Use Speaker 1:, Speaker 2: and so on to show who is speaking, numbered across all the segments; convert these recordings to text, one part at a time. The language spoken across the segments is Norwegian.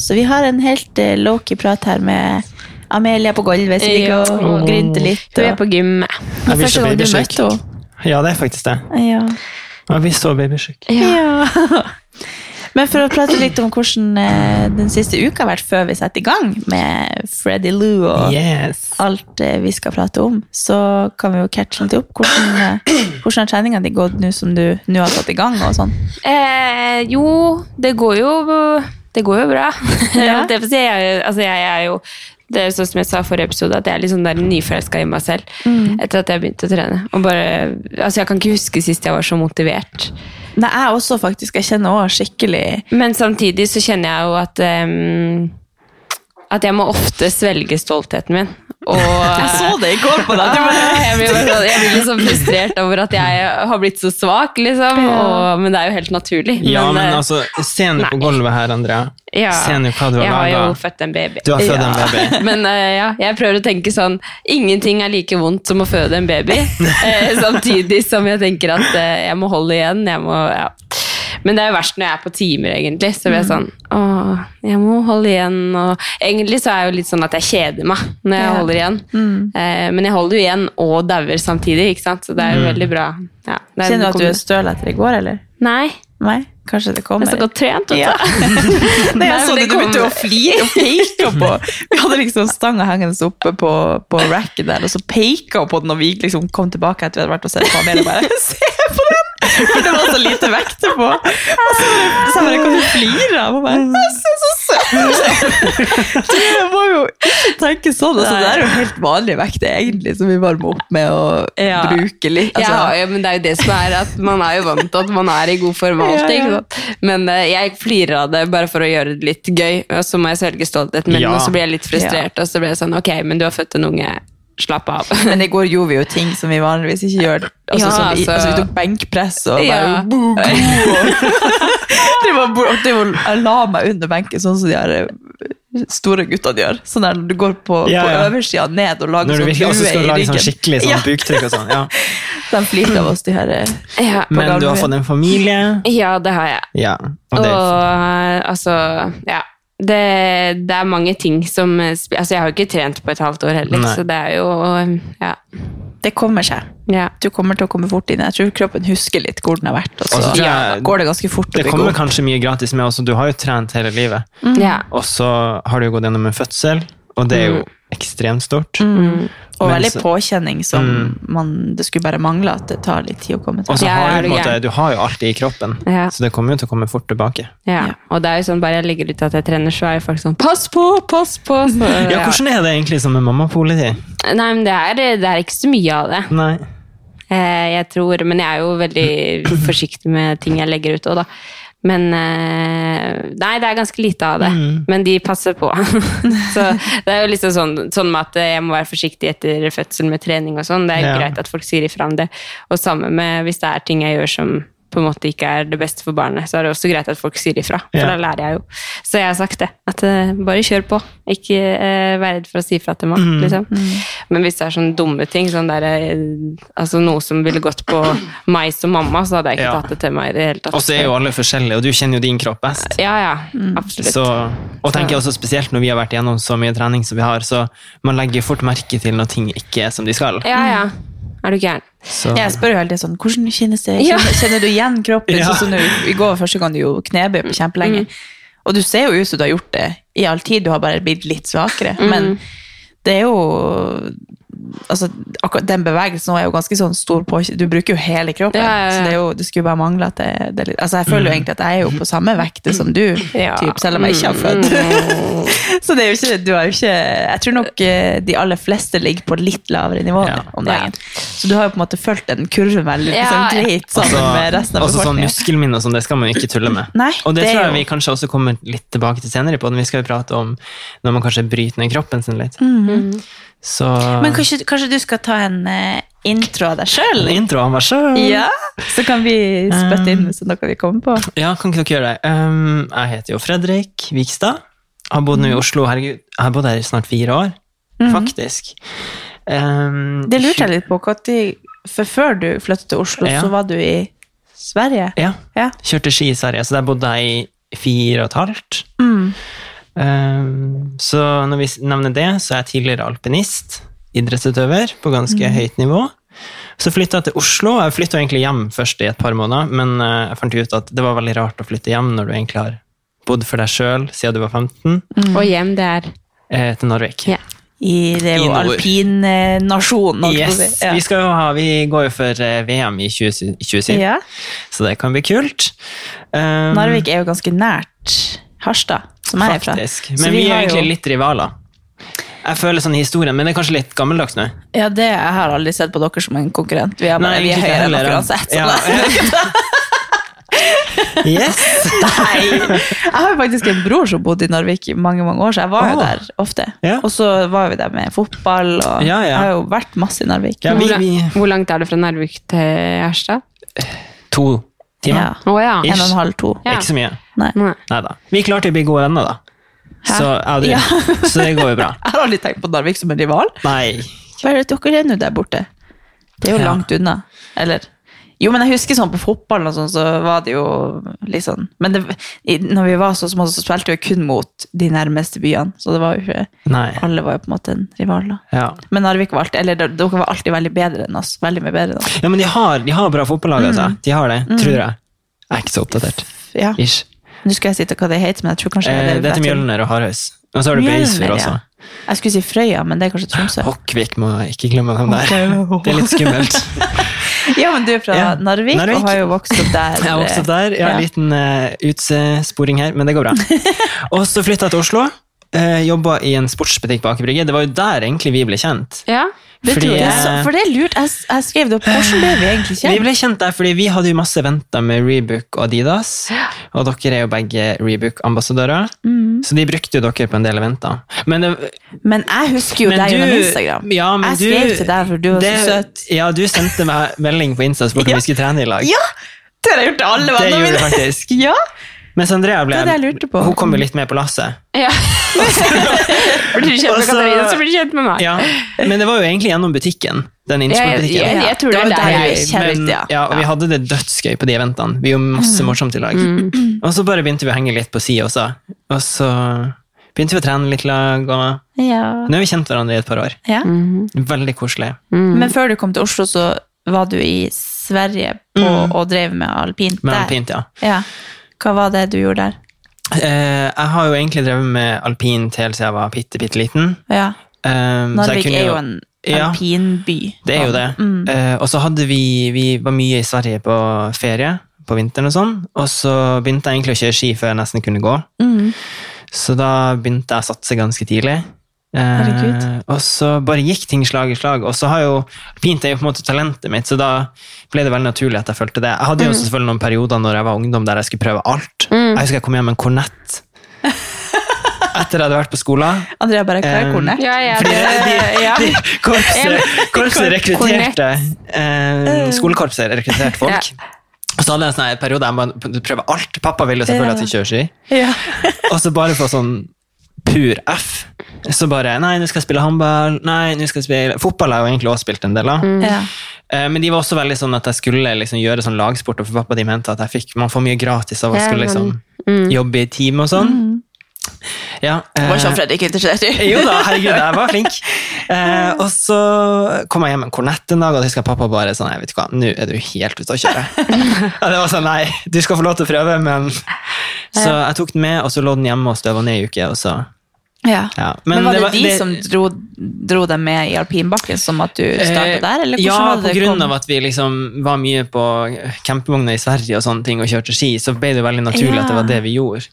Speaker 1: så vi har en helt eh, lowkey prat her med Amelia på gulvet, som
Speaker 2: Ja.
Speaker 1: ligger og grynter litt.
Speaker 2: Du er
Speaker 1: Og,
Speaker 2: på gym.
Speaker 3: Jeg blir
Speaker 1: første
Speaker 3: så
Speaker 1: gang du
Speaker 3: babysjuk.
Speaker 1: møtte henne.
Speaker 3: Ja, det er faktisk det.
Speaker 1: Ja.
Speaker 3: Jeg blir så babysjuk.
Speaker 1: Ja. Men for å prate litt om hvordan eh, den siste uka har vært før vi setter i gang med Freddy Lou og
Speaker 3: Yes.
Speaker 1: alt eh, vi skal prate om, så kan vi jo catche litt opp. Hvordan, eh, hvordan har treninga di gått nå som du nå har satt i gang? og sånn?
Speaker 2: Eh, jo, det går jo Det går jo bra.
Speaker 1: Ja.
Speaker 2: det får si, jeg, er jo- altså, jeg er jo det er jo sånn som jeg sa i forrige episode, at jeg er litt sånn der nyforelska i meg selv etter at jeg begynte å trene. Og bare, altså, jeg kan ikke huske sist jeg var så motivert.
Speaker 1: Nei, jeg også faktisk. Jeg kjenner også skikkelig
Speaker 2: Men samtidig så kjenner jeg jo at ehm, At jeg må ofte svelge stoltheten min. Og
Speaker 1: Jeg så det i går på deg! Du bare-
Speaker 2: Ah, Jeg blir, bare sånn- jeg blir litt sånn frustrert over at jeg har blitt så svak, liksom.
Speaker 1: Ja.
Speaker 2: Og, men det er jo helt naturlig.
Speaker 3: Ja, men
Speaker 2: eh,
Speaker 3: altså, se nå på gulvet her, Andrea.
Speaker 2: ja,
Speaker 3: Se nå hva du
Speaker 2: jeg
Speaker 3: har
Speaker 2: har jo
Speaker 3: laga.
Speaker 2: født en baby.
Speaker 3: Du har født
Speaker 2: ja.
Speaker 3: en baby.
Speaker 2: Men eh, ja, jeg prøver å tenke sånn Ingenting er like vondt som å føde en baby. Eh, samtidig som jeg tenker at eh, jeg må holde igjen. Jeg må, ja. Men det er jo verst når jeg er på timer, egentlig. Så
Speaker 3: Mm.
Speaker 2: blir jeg sånn Åh, jeg må holde igjen. Og egentlig så er jeg jo litt sånn at jeg kjeder meg når jeg
Speaker 1: Ja. Mm.
Speaker 2: holder igjen. Eh, men jeg holder jo igjen og dauer samtidig, ikke sant. Så det
Speaker 3: Mm.
Speaker 2: er jo veldig bra. Ja, det er-
Speaker 1: Kjenner du at du
Speaker 2: det
Speaker 1: er støl etter i går, eller?
Speaker 2: kommer- Nei.
Speaker 1: Nei? Kanskje det
Speaker 2: Jeg
Speaker 1: kommer?
Speaker 2: er så godt trent, vet du.
Speaker 1: Ja. Nei, jeg
Speaker 2: Nei,
Speaker 1: så det,
Speaker 2: men det
Speaker 1: du begynte
Speaker 2: kom-
Speaker 1: å flire og peke på Vi hadde liksom stanga hengende oppe på, på racket der, og så peka hun på den, og vi liksom kom tilbake etter vi hadde vært og sett på Amelia, og bare Se på den! For det var så lite vekt på. Og så bare- så bare kan du flire av og bare «Jeg ser så søt ut!» Du jeg må jo ikke tenke sånn. Altså, det er jo helt vanlig vekt, egentlig, som vi bare må opp med å
Speaker 2: Ja.
Speaker 1: bruke litt.
Speaker 2: Ja,
Speaker 1: Altså,
Speaker 2: ja, men det er jo det som er at man er jo vant til at man er i god form og alt.
Speaker 1: Ja, ja.
Speaker 2: ikke sant? Men eh, jeg flirer av det bare for å gjøre det litt gøy, og så må jeg svelge stoltheten min,
Speaker 3: Ja.
Speaker 2: og så blir jeg litt frustrert, og så blir jeg sånn, ok, men du har født en unge, slapp av.
Speaker 1: Men i går gjorde vi jo ting som vi vanligvis ikke gjør. Altså,
Speaker 2: Ja,
Speaker 1: som vi,
Speaker 2: altså-
Speaker 1: altså, vi tok benkpress og bare
Speaker 2: Ja.
Speaker 1: bo, go, og- det var, bo- det var, Jeg la meg under benken sånn som de her eh, store guttene gjør. Sånn der når du går på,
Speaker 3: Ja,
Speaker 1: på
Speaker 3: ja.
Speaker 1: øversida ned og lager
Speaker 3: Når du
Speaker 1: sånn
Speaker 3: virkelig også
Speaker 1: lue
Speaker 3: skal
Speaker 1: i
Speaker 3: lage
Speaker 1: ryggen.
Speaker 3: sånn skikkelig sånn
Speaker 1: ja,
Speaker 3: buktrykk og sånn. Ja.
Speaker 1: de flirte av oss, de her. eh.
Speaker 2: Ja,
Speaker 3: Men du har
Speaker 1: gulvet.
Speaker 3: fått en familie.
Speaker 2: ja det har jeg.
Speaker 3: Ja. Og
Speaker 2: Og
Speaker 3: det
Speaker 2: eh, altså, ja. Det, det er mange ting som eh, sp- Altså, jeg har jo ikke trent på et halvt år heller,
Speaker 3: Nei.
Speaker 2: så det er jo Ja.
Speaker 1: Det kommer seg.
Speaker 2: ja.
Speaker 1: Du kommer til å komme fort inn. Jeg tror kroppen husker litt hvor den har vært. Og så
Speaker 3: Og så Altså, tror jeg-
Speaker 1: går det ganske fort
Speaker 3: det
Speaker 1: opp i
Speaker 3: kommer
Speaker 1: går.
Speaker 3: kanskje mye gratis med også. Du har jo trent hele livet.
Speaker 2: ja.
Speaker 3: Og så har du jo gått gjennom en fødsel, og det er jo ekstremt stort.
Speaker 1: Og
Speaker 3: Men
Speaker 1: veldig
Speaker 3: så- Mm.
Speaker 1: påkjenning som man, det skulle bare mangle at det tar litt tid å komme til.
Speaker 3: Og så har
Speaker 2: Ja, ja,
Speaker 3: du, på en
Speaker 2: er du
Speaker 3: måte,
Speaker 2: gæren?
Speaker 3: du har jo alt det i kroppen,
Speaker 2: Ja.
Speaker 3: så det kommer jo til å komme fort tilbake.
Speaker 2: Ja.
Speaker 1: Ja.
Speaker 2: og det er jo sånn bare jeg legger ut at jeg trener, så er jo folk sånn 'pass på, pass på'. Så,
Speaker 3: Ja,
Speaker 2: ja.
Speaker 3: Hvordan er det egentlig som med mammapoliti?
Speaker 2: Nei, men det er, det er ikke så mye av det.
Speaker 3: Nei.
Speaker 2: Eh, Jeg tror, Men jeg er jo veldig forsiktig med ting jeg legger ut òg, da. Men eh, Nei, det er ganske lite av det. Men de passer på. Så det er jo liksom sånn, sånn med at jeg må være forsiktig etter fødsel med trening og sånn. Det er
Speaker 3: Ja.
Speaker 2: greit at folk sier ifra om det. Og samme med hvis det er ting jeg gjør som på en måte ikke er det beste for barnet, så er det også greit at folk sier ifra. For
Speaker 3: Ja.
Speaker 2: da lærer jeg jo. Så jeg har sagt det. At eh, bare kjør på. Ikke eh, vær redd for å si ifra til
Speaker 3: Mm.
Speaker 2: meg. Liksom. Men hvis det er sånne dumme ting, sånn der, eh, altså noe som ville gått på meg som mamma, så hadde jeg ikke
Speaker 3: Ja.
Speaker 2: tatt det til meg i det hele tatt.
Speaker 3: Og så er jo alle forskjellige, og du kjenner jo din kropp best.
Speaker 2: Ja, ja. Absolutt.
Speaker 3: Så, og tenker jeg også spesielt når vi har vært igjennom så mye trening som vi har, så man legger fort merke til når ting ikke er som de skal.
Speaker 2: Ja, ja. Er du gæren?
Speaker 3: Så,
Speaker 1: Jeg spør jo hele tiden sånn, hvordan kjennes det?
Speaker 2: Ja.
Speaker 1: Kjenner, kjenner du igjen kroppen?
Speaker 3: Ja.
Speaker 1: Sånn som når- I går første gang du jo knebøy på kjempelenge.
Speaker 2: Mm.
Speaker 1: Og du ser jo ut som du har gjort det i all tid, du har bare blitt litt svakere.
Speaker 2: Mm.
Speaker 1: Men det er jo altså, akkurat Den bevegelsen nå er jo ganske sånn stor på Du bruker jo hele kroppen.
Speaker 2: Ja, ja, ja.
Speaker 1: Så det, er jo, det skulle bare mangle at det, det er litt- Altså, jeg
Speaker 3: Mm.
Speaker 1: føler jo egentlig at jeg er jo på samme vekte som du,
Speaker 2: Ja. Mm.
Speaker 1: typ, selv om jeg ikke har født. så det er jo ikke Du har jo ikke Jeg tror nok eh, de aller fleste ligger på litt lavere nivå
Speaker 3: Ja.
Speaker 1: om dagen. Så du har jo på en måte fulgt den kurven veldig liksom,
Speaker 2: Ja, ja.
Speaker 1: greit sammen
Speaker 3: altså-
Speaker 1: med resten av
Speaker 3: altså sånn
Speaker 1: befolkningen.
Speaker 3: muskelminne og sånn, det skal man jo ikke tulle med.
Speaker 1: Nei,
Speaker 3: og det,
Speaker 1: det er
Speaker 3: tror jeg
Speaker 1: jo-
Speaker 3: vi kanskje også kommer litt tilbake til senere på, når vi skal jo prate om når man kanskje bryter ned kroppen sin litt. Så
Speaker 1: Men kanskje, kanskje du skal ta en eh, intro av deg
Speaker 3: en
Speaker 1: sjøl?
Speaker 3: intro av meg sjøl?
Speaker 1: Mm. Ja, så kan vi spytte inn hvis det er noe vi kommer på.
Speaker 3: Ja, kan ikke dere gjøre det? Um, jeg heter jo Fredrik Vikstad. Har bodd nå i Oslo. Herregud, jeg har bodd her i snart fire år, faktisk. Um,
Speaker 1: Mhm. Det lurte jeg litt på, Katti. For før du flyttet til Oslo,
Speaker 3: Ja.
Speaker 1: så var du i Sverige.
Speaker 3: Ja.
Speaker 1: Ja.
Speaker 3: Kjørte ski i Sverige, så der bodde jeg i fire og et halvt.
Speaker 1: Mm.
Speaker 3: Um, så når vi s- nevner det, så er jeg tidligere alpinist, idrettsutøver, på ganske
Speaker 1: Mhm.
Speaker 3: høyt nivå. Så flytta jeg til Oslo. Jeg flytta egentlig hjem først i et par måneder, men eh, jeg fant ut at det var veldig rart å flytte hjem når du egentlig har bodd for deg sjøl siden du var 15,
Speaker 2: Og hjem, det er
Speaker 3: eh, til Narvik.
Speaker 2: Ja.
Speaker 1: I, det er
Speaker 3: I
Speaker 1: jo
Speaker 3: nord.
Speaker 1: alpinnasjonen. holdt jeg på å
Speaker 3: Yes,
Speaker 1: si. Ja.
Speaker 3: vi, skal jo ha, vi går jo for eh, VM i 20, 2027,
Speaker 1: Ja.
Speaker 3: så det kan bli kult. Um,
Speaker 1: Narvik er jo ganske nært Harstad, som jeg er fra.
Speaker 3: Faktisk. Men vi, er egentlig litt rivaler. Jeg føler sånn i historien, men det er kanskje litt gammeldags nå.
Speaker 1: Ja, det jeg har aldri sett på dere som en konkurrent. Vi er, bare,
Speaker 3: Nei,
Speaker 1: vi er
Speaker 3: egentlig ikke
Speaker 1: høyere enn
Speaker 3: heller,
Speaker 1: dere
Speaker 3: ja.
Speaker 1: uansett.
Speaker 3: Ja. Yes!
Speaker 1: Nei. Jeg har faktisk en bror som bodde i Narvik i mange mange år, så jeg var jo
Speaker 3: Åh.
Speaker 1: der ofte.
Speaker 3: Ja.
Speaker 1: Og så var vi der med fotball, og
Speaker 3: Ja, ja.
Speaker 1: jeg har jo vært masse i Narvik.
Speaker 3: Ja,
Speaker 2: hvor,
Speaker 3: vi, vi
Speaker 2: la- hvor langt er det fra Narvik til Herstad?
Speaker 3: To
Speaker 1: Ja.
Speaker 3: timer.
Speaker 2: Å ja.
Speaker 1: En og en halv, to.
Speaker 2: Ja.
Speaker 3: Ikke så mye.
Speaker 1: Nei.
Speaker 2: Nei.
Speaker 3: Nei da. Vi klarte å bli gode venner, da. Så, ja, du,
Speaker 1: Ja.
Speaker 3: så det går jo bra.
Speaker 1: Jeg har aldri tenkt på Narvik som en rival.
Speaker 3: Nei.
Speaker 1: Hva er det dere er nå der borte? Det er jo
Speaker 3: Ja.
Speaker 1: langt unna. Eller Jo, men jeg husker sånn på fotballen og sånn, så var det jo litt sånn Men det, i, når vi var så små, så spilte vi jo kun mot de nærmeste byene, så det var jo ikke
Speaker 3: Nei.
Speaker 1: Alle var jo på en måte en rival, da.
Speaker 3: Ja.
Speaker 1: Men Narvik var alltid Eller de- dere var alltid veldig bedre enn oss. Veldig mye bedre enn oss.
Speaker 3: ja, men de har, de har bra fotballag,
Speaker 1: Mm.
Speaker 3: altså. De har det, tror jeg. Jeg er ikke så oppdatert.
Speaker 1: Ja.
Speaker 3: Ish.
Speaker 1: Nå skulle jeg si til hva det heter, men jeg tror kanskje
Speaker 3: Eh,
Speaker 1: jeg-
Speaker 3: det
Speaker 1: jeg
Speaker 3: heter
Speaker 1: tror-
Speaker 3: Mjølner og Hardhaus. Og så har du Beisfjord
Speaker 1: Mjølner, ja.
Speaker 3: også.
Speaker 1: Jeg skulle si Frøya, men det er kanskje Tromsø.
Speaker 3: Hokkvik må jeg ikke glemme den der.
Speaker 1: Ok.
Speaker 3: Det er litt skummelt.
Speaker 1: Ja, men du er fra
Speaker 3: Ja.
Speaker 1: Narvik,
Speaker 3: Narvik.
Speaker 1: og har jo vokst opp der.
Speaker 3: Jeg er også der. Jeg har en liten eh, utsporing her, men det går bra. Og så flytta jeg til Oslo. Uh, Jobba i en sportsbutikk på Aker Brygge. Det var jo der egentlig vi ble kjent.
Speaker 2: Ja.
Speaker 1: Det
Speaker 3: Fordi,
Speaker 1: tror jeg.
Speaker 3: eh,
Speaker 1: Så, for det er lurt. Jeg, jeg skrev det opp. Hvordan ble vi egentlig
Speaker 3: Vi
Speaker 1: kjent?
Speaker 3: ble kjent der fordi vi hadde jo masse eventer med Rebook og Adidas, og dere er jo begge Rebook-ambassadører,
Speaker 1: Mm.
Speaker 3: så de brukte jo dere på en del eventer. Men det,
Speaker 1: Men jeg husker jo
Speaker 3: Men
Speaker 1: deg
Speaker 3: du-
Speaker 1: gjennom Instagram.
Speaker 3: Ja, men
Speaker 1: jeg skrev
Speaker 3: du-
Speaker 1: til deg, for du var
Speaker 3: det-
Speaker 1: så søt.
Speaker 3: Ja, du sendte meg melding på Insta og spurte om vi skulle trene i lag.
Speaker 1: Ja! Det har jeg gjort til alle
Speaker 3: det
Speaker 1: vennene
Speaker 3: gjorde du
Speaker 1: mine.
Speaker 3: faktisk.
Speaker 1: Ja,
Speaker 3: Mens Andrea ble,
Speaker 1: Det var det jeg lurte på.
Speaker 3: hun kom jo litt med på lasset.
Speaker 2: ja. blir du kjent
Speaker 3: Og så-
Speaker 2: med Katarina, så blir du kjent med meg.
Speaker 3: Ja, men det var jo egentlig gjennom butikken. Den Innsbruck-butikken.
Speaker 2: Jeg- jeg tror det er
Speaker 1: var
Speaker 2: der
Speaker 1: vi
Speaker 2: jeg-
Speaker 1: kjente,
Speaker 3: Men, ja, og vi hadde det dødsgøy på de eventene. Vi gjorde
Speaker 1: Mm.
Speaker 3: masse morsomt i lag. Og så bare begynte vi å henge litt på sida også. Og så begynte vi å trene litt lag, og
Speaker 1: ja.
Speaker 3: nå har vi kjent hverandre i et par år.
Speaker 1: ja.
Speaker 3: Veldig koselig.
Speaker 1: Men før du kom til Oslo, så var du i Sverige på, og drev med alpint
Speaker 3: Mm. Med
Speaker 1: der.
Speaker 3: alpint, ja.
Speaker 1: Ja. Hva var det du gjorde der?
Speaker 3: Eh, jeg har jo egentlig drevet med alpint helt siden jeg var bitte, bitte liten.
Speaker 1: Ja.
Speaker 3: Um, så
Speaker 1: Narvik
Speaker 3: jeg kunne
Speaker 1: er jo en
Speaker 3: Ja.
Speaker 1: alpinby.
Speaker 3: Det er jo det. Eh, og så hadde vi Vi var mye i Sverige på ferie på vinteren og sånn, og så begynte jeg egentlig å kjøre ski før jeg nesten kunne gå. Så da begynte jeg å satse ganske tidlig. Eh,
Speaker 1: Herregud.
Speaker 3: og så bare gikk ting slag i slag, og så har jo pint er jo på en måte talentet mitt, så da ble det veldig naturlig at jeg følte det. Jeg hadde jo selvfølgelig noen perioder når jeg var ungdom der jeg skulle prøve alt. Jeg husker jeg kom hjem med en kornett etter jeg hadde vært på skolen.
Speaker 1: Andrea bare
Speaker 3: Um,
Speaker 1: klarkornet.
Speaker 2: Ja, ja,
Speaker 3: Fordi
Speaker 2: det-
Speaker 3: de,
Speaker 2: ja.
Speaker 3: de, korpset, korpset
Speaker 2: Kornett.
Speaker 3: rekrutterte eh, Skolekorpset rekrutterte folk. Og så hadde jeg en sånn her periode der man prøver alt. Pappa ville selvfølgelig at jeg kjører ski.
Speaker 1: Ja.
Speaker 3: Og så bare få sånn pur F. Så bare Nei, nå skal jeg spille håndball. Nei, nå skal jeg spille Fotball har jeg jo egentlig også spilt en del
Speaker 2: Mm.
Speaker 3: av.
Speaker 1: ja.
Speaker 3: Eh, Men de var også veldig sånn at jeg skulle liksom gjøre sånn lagsport, og for pappa de mente at jeg fikk, man får mye gratis av å
Speaker 2: Ja,
Speaker 3: skulle liksom
Speaker 2: man- mm.
Speaker 3: jobbe i team og sånn. Ja,
Speaker 1: Det var
Speaker 3: eh,
Speaker 1: ikke han Fredrik interessert i.
Speaker 3: jo da, herregud, jeg var flink. Eh, og så kom jeg hjem med en kornett en dag, og da husker jeg pappa bare sånn Nei, vet du hva, nå er du helt ute å kjøre. og det var sånn, nei, du skal få lov til å prøve, men Så jeg tok den med, og så lå den hjemme og støva ned i uke, og så
Speaker 1: Ja.
Speaker 3: Ja, men
Speaker 1: Men, var det,
Speaker 3: det var-
Speaker 1: de
Speaker 3: det-
Speaker 1: som dro, dro deg med i alpinbakken, som at du startet der? Eller hvordan
Speaker 3: Eh, ja,
Speaker 1: var det
Speaker 3: på
Speaker 1: det
Speaker 3: grunn
Speaker 1: kom-
Speaker 3: av at vi liksom var mye på campingvogna i Sverige og sånne ting og kjørte ski, så ble det veldig naturlig
Speaker 1: Ja.
Speaker 3: at det var det vi gjorde.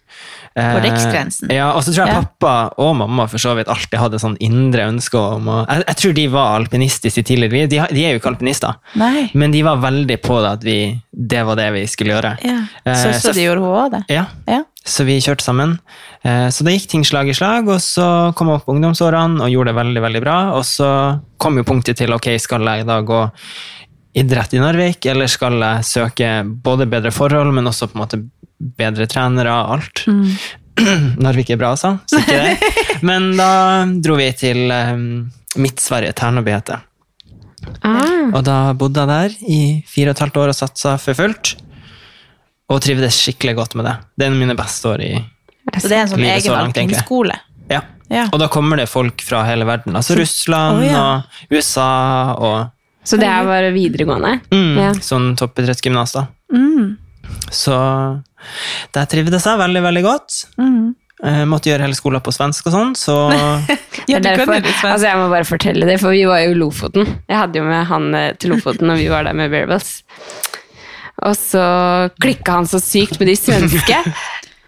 Speaker 3: På
Speaker 1: riksgrensen.
Speaker 3: Ja, og så tror jeg
Speaker 1: Ja.
Speaker 3: pappa og mamma for så vidt alltid hadde sånn indre ønske om å jeg, jeg tror de var alpinistiske i tidligere liv. De, har- de er jo ikke alpinister,
Speaker 1: Nei.
Speaker 3: men de var veldig på det at vi, det var det vi skulle gjøre.
Speaker 1: Ja.
Speaker 3: Eh,
Speaker 1: Så, så
Speaker 3: så-
Speaker 1: de gjorde hun også det?
Speaker 3: Ja,
Speaker 1: Ja.
Speaker 3: så vi kjørte sammen. Eh, Så det gikk ting slag i slag, og så kom jeg opp på ungdomsårene og gjorde det veldig veldig bra. Og så kom jo punktet til ok, skal jeg da gå idrett i Narvik, eller skal jeg søke både bedre forhold, men også på en måte bedre trenere og alt. Narvik er bra, altså. Så ikke det. Men da dro vi til eh, Midt-Sverige, Tärnaby heter det.
Speaker 2: Ah.
Speaker 3: Og da bodde jeg der i fire og et halvt år og satsa for fullt. Og trivdes skikkelig godt med det. Det er mine beste år i
Speaker 1: Så det er en sånn
Speaker 3: Livet så
Speaker 1: egen
Speaker 3: langt, egentlig.
Speaker 1: alpinskole?
Speaker 3: ja.
Speaker 1: Ja.
Speaker 3: Og da kommer det folk fra hele verden. Altså Russland
Speaker 1: Å, ja.
Speaker 3: og USA og
Speaker 2: Så det her var videregående?
Speaker 3: mm,
Speaker 2: Ja.
Speaker 3: sånn toppidrettsgymnas, da.
Speaker 1: Mm.
Speaker 3: Så der trivdes jeg veldig, veldig godt.
Speaker 1: Mm.
Speaker 3: Eh, måtte gjøre hele skolen på svensk og sånn, så
Speaker 1: Ja,
Speaker 2: Det er derfor, altså jeg må bare fortelle det, for vi var jo i Lofoten. Jeg hadde jo med han eh, til Lofoten når vi var der med Bearables. Og så klikka han så sykt med de svenske.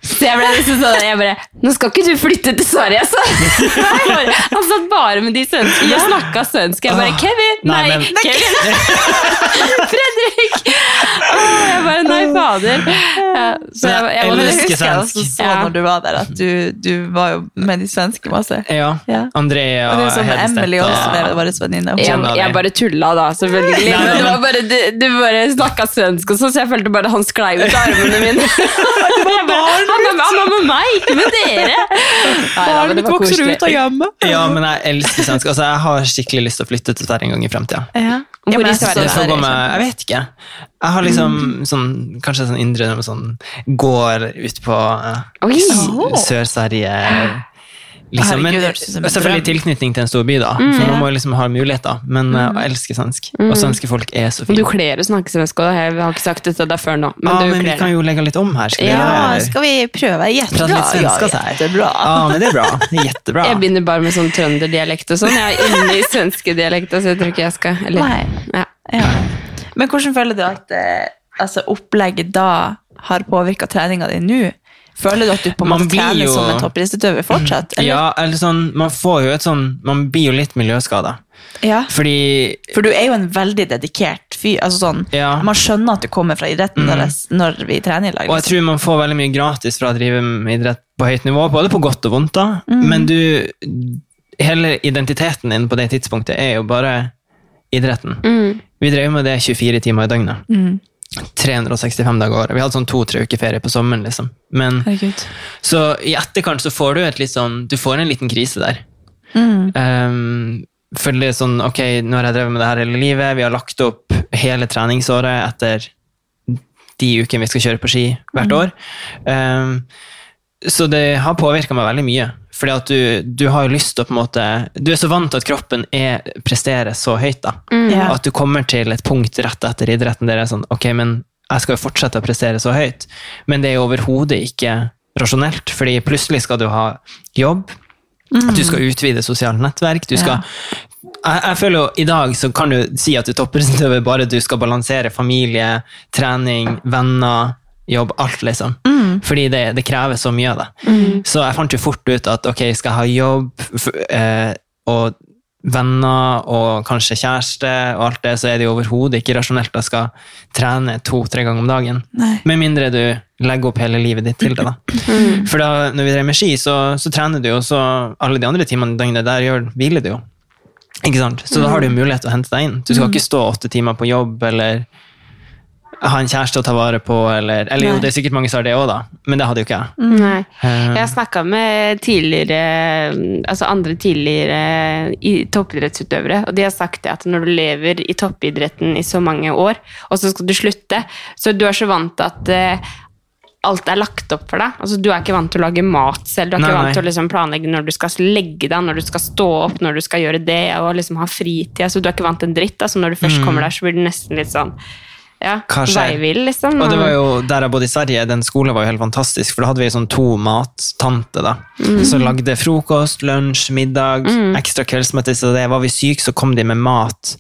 Speaker 2: Så jeg ble liksom sånn, jeg bare Nå skal ikke du flytte til Sverige, altså! Jeg bare- Han satt bare med de svenske og snakka svensk. Jeg bare Kevin! Nei,
Speaker 3: Nei, men-
Speaker 2: Kevin! Fredrik! Åh, jeg bare Nei, fader. Ja, så jeg,
Speaker 1: Men
Speaker 2: jeg,
Speaker 1: det
Speaker 2: måtte
Speaker 3: Elsker
Speaker 1: husker jeg også
Speaker 3: svensk.
Speaker 1: så
Speaker 2: Ja.
Speaker 1: når du var der, at du, du var jo med de svenske masse.
Speaker 3: ja.
Speaker 1: Ja.
Speaker 3: Andrea
Speaker 1: Og det er sånn med
Speaker 3: Hedenstedt
Speaker 1: Emily også, det
Speaker 3: og-
Speaker 1: var vår venninne.
Speaker 2: Jeg,
Speaker 3: Kjenner
Speaker 2: jeg
Speaker 3: vi.
Speaker 2: bare tulla da, selvfølgelig.
Speaker 3: Nei, nei,
Speaker 2: Men det
Speaker 3: men-
Speaker 2: var bare, du, du bare snakka svensk, og sånn, så jeg følte bare han sklei ut av armene mine. Jeg bare, han, er, han er med meg, ikke med dere! Nei, da, men det var
Speaker 1: vokser
Speaker 2: koselig.
Speaker 1: ut av hjemmet.
Speaker 3: Ja, men jeg elsker svensk. Altså, jeg har skikkelig lyst til å flytte til Sverige en gang i fremtida.
Speaker 1: Ja.
Speaker 2: Hvor i
Speaker 1: men jeg
Speaker 2: Sverige?
Speaker 1: så
Speaker 3: Det
Speaker 1: det sånn- Mm.
Speaker 3: får
Speaker 1: der,
Speaker 3: gå med, jeg vet ikke. Jeg har liksom sånn, kanskje sånn indre drøm sånn går ut på eh,
Speaker 2: Oi.
Speaker 3: S-
Speaker 1: Åh.
Speaker 3: Sør-Sverige. Liksom.
Speaker 1: Herregud,
Speaker 3: Men
Speaker 1: det hørtes ut som en drøm. Mm,
Speaker 3: selvfølgelig tilknytning til en stor by, da. For man må jo liksom ha muligheter. Men eh, jeg elsker svensk. Og svenske folk er så
Speaker 2: Du
Speaker 3: fine.
Speaker 2: kler å snakke svensk, og jeg har ikke sagt dette der før nå. Men
Speaker 3: Ja,
Speaker 2: du
Speaker 3: Ah, men vi
Speaker 2: kler
Speaker 3: kan
Speaker 2: det.
Speaker 3: jo legge litt om her. Skal vi
Speaker 1: Ja,
Speaker 3: gjøre det, eller?
Speaker 1: skal vi prøve? Jettebra.
Speaker 3: Prate litt svensk,
Speaker 1: ja,
Speaker 3: altså. her.
Speaker 1: jettebra.
Speaker 3: Ja, men det er bra. Jettebra.
Speaker 2: Jeg begynner bare med sånn trønderdialekt og sånn. Jeg er inne i svenske dialekter, så jeg tror ikke jeg skal eller,
Speaker 1: Nei.
Speaker 2: Ja.
Speaker 1: Ja. Men hvordan føler du at eh, altså, opplegget da har påvirka treninga di nå? Føler du at du på en
Speaker 3: Man
Speaker 1: måte
Speaker 3: blir
Speaker 1: trener
Speaker 3: jo-
Speaker 1: som en toppidrettsutøver fortsatt?
Speaker 3: Ja, eller sånn, man får jo et sånn Man blir jo litt miljøskada.
Speaker 1: Ja.
Speaker 3: Fordi
Speaker 1: For du er jo en veldig dedikert fyr. Altså sånn,
Speaker 3: Ja. Mm.
Speaker 1: Man skjønner at du kommer fra idretten deres når vi trener i lag.
Speaker 3: Og jeg tror man får veldig mye gratis fra å drive med idrett på høyt nivå, både på godt og vondt, da.
Speaker 1: Mm.
Speaker 3: Men du Hele identiteten din på det tidspunktet er jo bare idretten.
Speaker 2: Mm.
Speaker 3: Vi drev med det 24 timer i døgnet. 365 dager i året. Vi hadde sånn to-tre uker ferie på sommeren, liksom. Men
Speaker 1: Herregud.
Speaker 3: så i etterkant så får du et litt sånn Du får en liten krise der. Um, for det er sånn Ok, nå har jeg drevet med det her hele livet. Vi har lagt opp hele treningsåret etter de ukene vi skal kjøre på ski hvert år. Um, så det har påvirka meg veldig mye. Fordi at du, du har jo lyst til å på en måte Du er så vant til at kroppen er, presterer så høyt, da.
Speaker 1: Ja.
Speaker 3: At du kommer til et punkt rett etter idretten der det er sånn Ok, men jeg skal jo fortsette å prestere så høyt. Men det er jo overhodet ikke rasjonelt, fordi plutselig skal du ha jobb. Du skal utvide sosialt nettverk. Du skal, jeg, jeg føler jo I dag så kan du si at du er toppidrettsutøver bare du skal balansere familie, trening, venner, jobb, alt, liksom. Fordi det, det krever så mye av deg. Så jeg fant jo fort ut at ok, skal jeg ha jobb f- eh, og venner og kanskje kjæreste og alt det, så er det jo overhodet ikke rasjonelt at jeg skal trene to-tre ganger om dagen.
Speaker 1: Nei.
Speaker 3: Med mindre du legger opp hele livet ditt til det, da. For da, når vi drev med ski, så, så trener du jo, så alle de andre timene i døgnet, der gjør, hviler du jo. Ikke sant? Så da har du jo mulighet til å hente deg inn. Du skal ikke stå åtte timer på jobb eller ha en kjæreste å ta vare på, eller, eller jo, det er sikkert mange som har det òg, da, men det hadde jo ikke jeg.
Speaker 2: Nei.
Speaker 3: Eh.
Speaker 2: Jeg har snakka med tidligere, altså andre tidligere i- toppidrettsutøvere, og de har sagt det at når du lever i toppidretten i så mange år, og så skal du slutte, så du er så vant til at eh, alt er lagt opp for deg. Altså, du er ikke vant til å lage mat selv, du er
Speaker 3: Nei,
Speaker 2: ikke
Speaker 3: nei.
Speaker 2: vant til å liksom, planlegge når du skal legge deg, når du skal stå opp, når du skal gjøre det, og liksom ha fritid. Altså, du er ikke vant til en dritt. Altså, når du først kommer der, så blir du nesten litt sånn ja,
Speaker 3: Mm. Hva skjer?
Speaker 2: veivill, liksom.
Speaker 3: Og det var jo der jeg bodde i Sverige, den skolen var jo helt fantastisk, for da hadde vi sånn to mattante da, som lagde frokost, lunsj, middag, ekstra kveldsmøte, så det var vi syke, så kom de med mat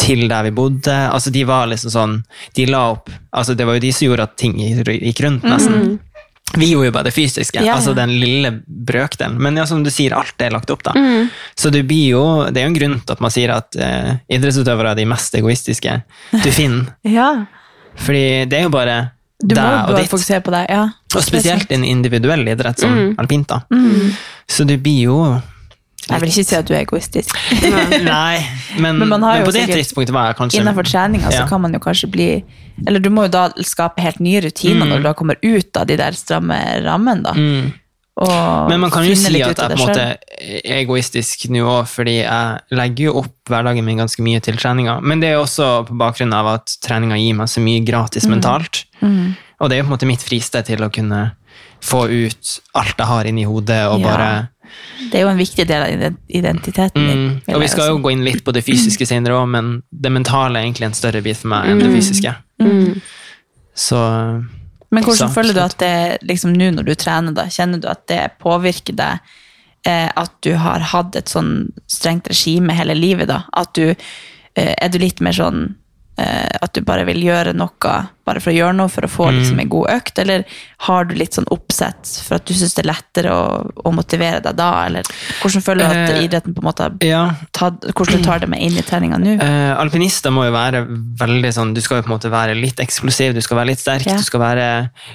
Speaker 3: til der vi bodde. Altså, de var liksom sånn, de la opp, altså det var jo de som gjorde at ting gikk gikk rundt nesten. Vi gjorde jo bare det fysiske,
Speaker 1: Ja, ja.
Speaker 3: altså den lille brøkdelen. Men ja, som du sier, alt er lagt opp, da. Så det blir jo Det er jo en grunn til at man sier at eh, idrettsutøvere er de mest egoistiske du finner.
Speaker 1: Ja.
Speaker 3: Fordi det er jo bare
Speaker 1: Du
Speaker 3: deg
Speaker 1: må jo
Speaker 3: og
Speaker 1: bare
Speaker 3: ditt.
Speaker 1: fokusere på deg. Ja.
Speaker 3: Og spesielt i en individuell idrett som alpint, da.
Speaker 1: Mm.
Speaker 3: Så det blir jo
Speaker 1: Jeg vil ikke si at du er egoistisk.
Speaker 3: Nei,
Speaker 1: Men
Speaker 3: men, men,
Speaker 1: man har jo
Speaker 3: på det
Speaker 1: sikkert-
Speaker 3: tidspunktet var jeg kanskje
Speaker 1: Innenfor treninga så
Speaker 3: Ja.
Speaker 1: kan man jo kanskje bli Eller du må jo da skape helt nye
Speaker 3: Mm.
Speaker 1: rutiner når du da kommer ut av de der stramme rammene, da. Og
Speaker 3: Men man kan jo
Speaker 1: finne
Speaker 3: si
Speaker 1: litt
Speaker 3: at
Speaker 1: ut av
Speaker 3: jeg på
Speaker 1: det
Speaker 3: en måte
Speaker 1: selv.
Speaker 3: er egoistisk nå òg, fordi jeg legger jo opp hverdagen min ganske mye til treninga. Men det er jo også på bakgrunn av at treninga gir meg så mye gratis
Speaker 1: Mm.
Speaker 3: mentalt. Og det er jo på en måte mitt fristed til å kunne få ut alt jeg har inni hodet, og
Speaker 1: Ja.
Speaker 3: bare
Speaker 1: Det er jo en viktig del av ident- identiteten din.
Speaker 3: Mm.
Speaker 1: vil
Speaker 3: Og vi
Speaker 1: jeg
Speaker 3: skal
Speaker 1: si.
Speaker 3: jo gå inn litt på det fysiske senere òg, men det mentale er egentlig en større bit for meg enn det fysiske. Så
Speaker 1: Men hvordan
Speaker 3: Så,
Speaker 1: føler du at
Speaker 3: slutt.
Speaker 1: det liksom nå når du trener, da, kjenner du at det påvirker deg eh, at du har hatt et sånn strengt regime hele livet, da? At du eh, Er du litt mer sånn eh, at du bare vil gjøre noe bare for å gjøre noe, for å
Speaker 3: Mm.
Speaker 1: få liksom en god økt, eller har du litt sånn oppsett for at du syns det er lettere å, å motivere deg da, eller hvordan føler du at
Speaker 3: Eh,
Speaker 1: idretten på en måte har
Speaker 3: ja,
Speaker 1: tatt, hvordan du tar det med inn i treninga nå?
Speaker 3: Eh, alpinister må jo være veldig sånn Du skal jo på en måte være litt eksplosiv, du skal være litt sterk,
Speaker 1: Ja.
Speaker 3: du skal være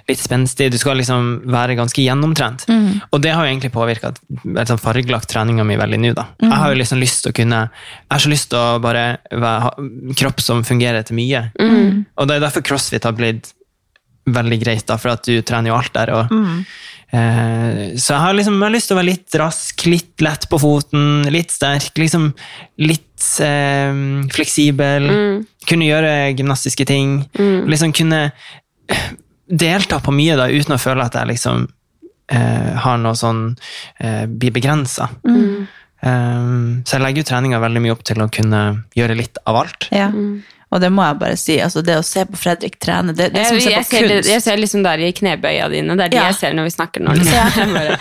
Speaker 3: litt spenstig. Du skal liksom være ganske gjennomtrent. Og det har jo egentlig påvirka liksom fargelagt treninga mi veldig nå. da. Jeg har jo liksom lyst til å kunne Jeg har så lyst til å bare være, ha kropp som fungerer til mye. Og det er derfor crossfit har blitt veldig greit, da, for at du trener jo alt der. Og, eh, så jeg har liksom jeg har lyst til å være litt rask, litt lett på foten, litt sterk, liksom litt eh, fleksibel. Kunne gjøre gymnastiske ting. Liksom kunne delta på mye da, uten å føle at jeg liksom eh, har noe sånn eh, Blir begrensa. så jeg legger jo treninga veldig mye opp til å kunne gjøre litt av alt.
Speaker 1: Ja. Og det må jeg bare si, altså det å se på Fredrik trene, det, det er som å
Speaker 2: Jeg,
Speaker 1: se
Speaker 2: jeg,
Speaker 1: på
Speaker 2: ser, det-
Speaker 1: kunst.
Speaker 2: jeg ser liksom der i knebøya dine. Det er de
Speaker 1: Ja.
Speaker 2: jeg ser når vi snakker nå. Liksom. Jeg, bare,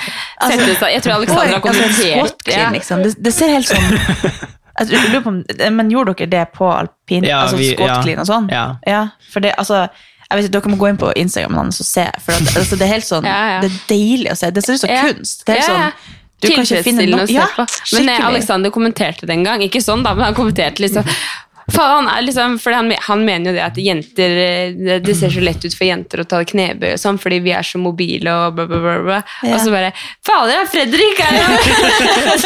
Speaker 2: setter seg- jeg tror Alexandra har
Speaker 1: Altså, Oi, altså, squat
Speaker 2: kommentert
Speaker 1: clean,
Speaker 2: ja.
Speaker 1: liksom. det, det ser helt sånn Altså, jeg lurer på om- Men gjorde dere det på alpin?
Speaker 3: Ja,
Speaker 1: altså
Speaker 3: vi-
Speaker 1: squat
Speaker 3: ja.
Speaker 1: clean og sånn?
Speaker 3: Ja.
Speaker 1: for det, altså jeg vet, ikke, Dere må gå inn på Instagram hans og se. For at, altså, det er helt sånn,
Speaker 2: Ja, ja.
Speaker 1: det er deilig å se. Det ser ut som
Speaker 2: Ja.
Speaker 1: kunst. Det er helt
Speaker 2: Ja, ja.
Speaker 1: sånn, du kan ikke finne
Speaker 2: Tilfredsstillende
Speaker 1: noe
Speaker 2: å se
Speaker 1: ja,
Speaker 2: på. Men eh,
Speaker 1: skikkelig.
Speaker 2: Alexander kommenterte det en gang. Ikke sånn, da, men han kommenterte liksom Faen, er liksom, fordi han, me- han mener jo det at jenter eh, det- Det ser så lett ut for jenter å ta knebøy og sånn, fordi vi er så mobile og bla, bla, bla. bla.
Speaker 1: Ja.
Speaker 2: Og så bare Fader, Fredrik er jo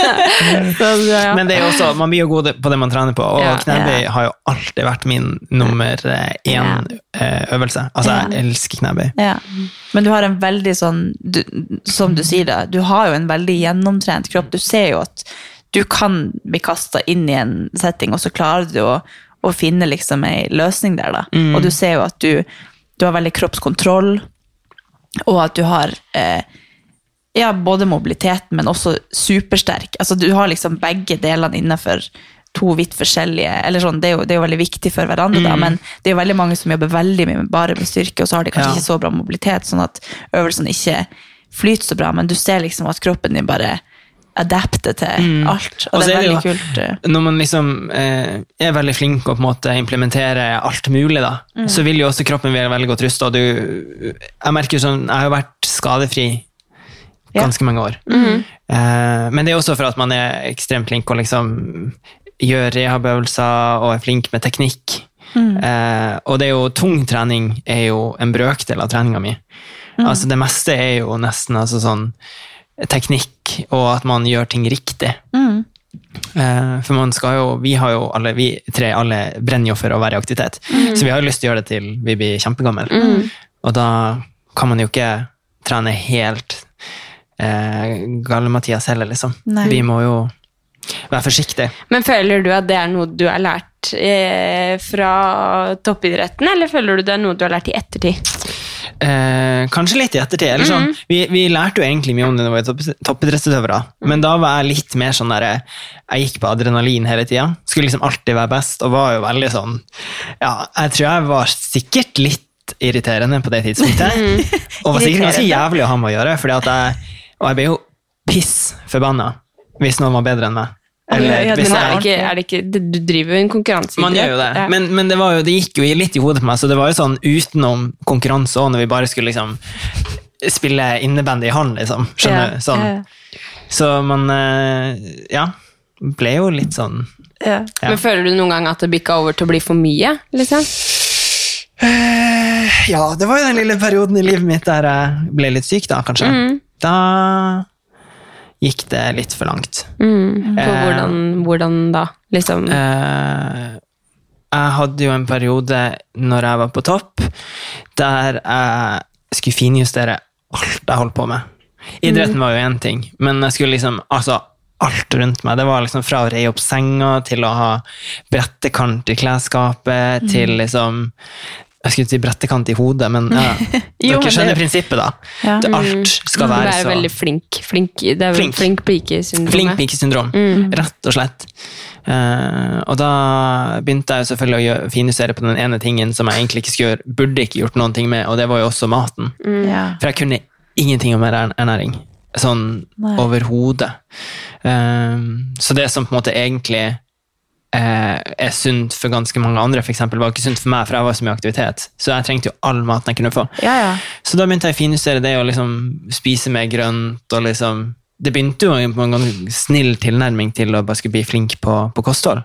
Speaker 2: Så, ja.
Speaker 3: Men det er jo også, man blir jo god på det man trener på, og
Speaker 2: Ja.
Speaker 3: knebøy har jo alltid vært min nummer eh, én eh, øvelse. Altså, jeg elsker knebøy.
Speaker 1: Ja. Men du har en veldig sånn du, Som du sier det, du har jo en veldig gjennomtrent kropp. Du ser jo at du kan bli kasta inn i en setting, og så klarer du å, å finne liksom ei løsning der, da. Og du ser jo at du, du har veldig kroppskontroll, og at du har eh, ja, både mobiliteten, men også supersterk. Altså, du har liksom begge delene innenfor to vidt forskjellige eller sånn, det, er jo, det er jo veldig viktig for hverandre, da, men det er jo veldig mange som jobber veldig mye med bare med styrke, og så har de kanskje
Speaker 3: Ja.
Speaker 1: ikke så bra mobilitet, sånn at øvelsene ikke flyter så bra, men du ser liksom at kroppen din bare adapter til alt, og,
Speaker 3: Og så
Speaker 1: det er
Speaker 3: er det
Speaker 1: veldig
Speaker 3: jo-
Speaker 1: kult. eh.
Speaker 3: Når man liksom eh, er veldig flink og på en måte implementerer alt mulig, da, så vil jo også kroppen være veldig godt rusta. Jeg merker jo sånn, jeg har jo vært skadefri ganske mange år. Eh, men det er også for at man er ekstremt flink og liksom gjør rehabøvelser og er flink med teknikk. Eh, og det er jo tung trening er jo en brøkdel av treninga mi. Altså det meste er jo nesten altså sånn teknikk og at man gjør ting riktig. Eh, For man skal jo, vi har jo alle, vi tre alle brenner jo for å være i aktivitet. Så vi har jo lyst til å gjøre det til vi blir kjempegammel. Og da kan man jo ikke trene helt eh, Galle-Mathias heller, liksom.
Speaker 1: Nei.
Speaker 3: Vi må jo være forsiktige.
Speaker 2: Men føler du at det er noe du har lært eh, fra toppidretten, eller føler du det er noe du har lært i ettertid?
Speaker 3: Eh, kanskje litt i ettertid. Eller sånn. vi, vi lærte jo egentlig mye om det da vi var topp- toppidrettsutøvere, men da var jeg litt mer sånn der Jeg gikk på adrenalin hele tida. Skulle liksom alltid være best, og var jo veldig sånn Ja, jeg tror jeg var sikkert litt irriterende på det tidspunktet. og var sikkert ganske jævlig å ha med å gjøre, fordi at jeg, og jeg ble jo piss forbanna hvis noen var bedre enn meg. Eller
Speaker 1: ja,
Speaker 3: hvis
Speaker 2: Men
Speaker 3: jeg
Speaker 2: er det ikke, er det ikke, du driver jo en konkurranseidrett.
Speaker 3: man gjør jo det,
Speaker 2: Ja.
Speaker 3: men, men det, var jo, det gikk jo i- litt i hodet på meg, så det var jo sånn utenom konkurranse òg, når vi bare skulle liksom spille innebandy i hånd, liksom. Skjønner du?
Speaker 2: Ja,
Speaker 3: Sånn.
Speaker 2: ja,
Speaker 3: Så man eh, Ja. Ble jo litt sånn
Speaker 1: Ja.
Speaker 3: Ja.
Speaker 2: Men føler du noen gang at det bikka over til å bli for mye? liksom?
Speaker 3: Ja, det var jo den lille perioden i livet mitt der jeg ble litt syk, da, kanskje.
Speaker 2: Mm.
Speaker 3: Da gikk det litt for langt.
Speaker 2: På hvordan, hvordan da? Liksom.
Speaker 3: Eh, jeg hadde jo en periode når jeg var på topp, der jeg skulle finjustere alt jeg holdt på med. Idretten
Speaker 1: Mm.
Speaker 3: var jo én ting, men jeg skulle liksom altså, alt rundt meg. Det var liksom fra å reie opp senga til å ha brettekant i klesskapet
Speaker 1: Mm.
Speaker 3: til liksom Jeg skulle si brettekant i hodet, men ja,
Speaker 1: Jo, men
Speaker 3: dere
Speaker 1: det-
Speaker 3: skjønner prinsippet, da.
Speaker 1: Ja. Mm.
Speaker 3: Det- Alt skal
Speaker 2: du
Speaker 3: være
Speaker 2: er jo
Speaker 3: så
Speaker 2: veldig flink. Flink, det er
Speaker 3: Flink.
Speaker 2: flink. flink pike-syndromet.
Speaker 3: Flink pike-syndrom, Mm. rett og slett. Eh, og da begynte jeg jo selvfølgelig å gjø- finjustere på den ene tingen som jeg egentlig ikke skulle gjøre, burde ikke gjort noen ting med, og det var jo også maten.
Speaker 1: Ja.
Speaker 3: For jeg kunne ingenting om ernæ- ernæring, sånn
Speaker 1: Nei.
Speaker 3: overhodet. Eh, så det som på en måte egentlig eh, er sunt for ganske mange andre, for eksempel, var ikke sunt for meg, for jeg var så mye i aktivitet. Så jeg trengte jo all maten jeg kunne få.
Speaker 1: Ja, ja.
Speaker 3: Så da begynte jeg å finjustere det og liksom spise mer grønt. og liksom Det begynte jo på en ganske snill tilnærming til å bare skulle bli flink på, på kosthold.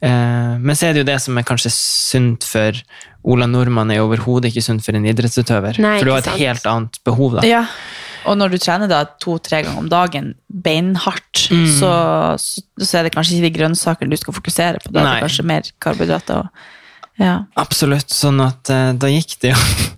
Speaker 3: Eh, men så er det jo det som er kanskje sunt for Ola Nordmann, er jo overhodet ikke sunt for en idrettsutøver.
Speaker 2: Nei,
Speaker 3: for du har
Speaker 2: ikke
Speaker 3: et
Speaker 2: sant.
Speaker 3: helt annet behov da.
Speaker 1: Ja. Og når du trener da to-tre ganger om dagen beinhardt, så, så, så er det kanskje ikke de grønnsakene du skal fokusere på. Da er
Speaker 3: Nei.
Speaker 1: det kanskje mer karbohydrater. Og, ja.
Speaker 3: Absolutt. Sånn at eh, da gikk det jo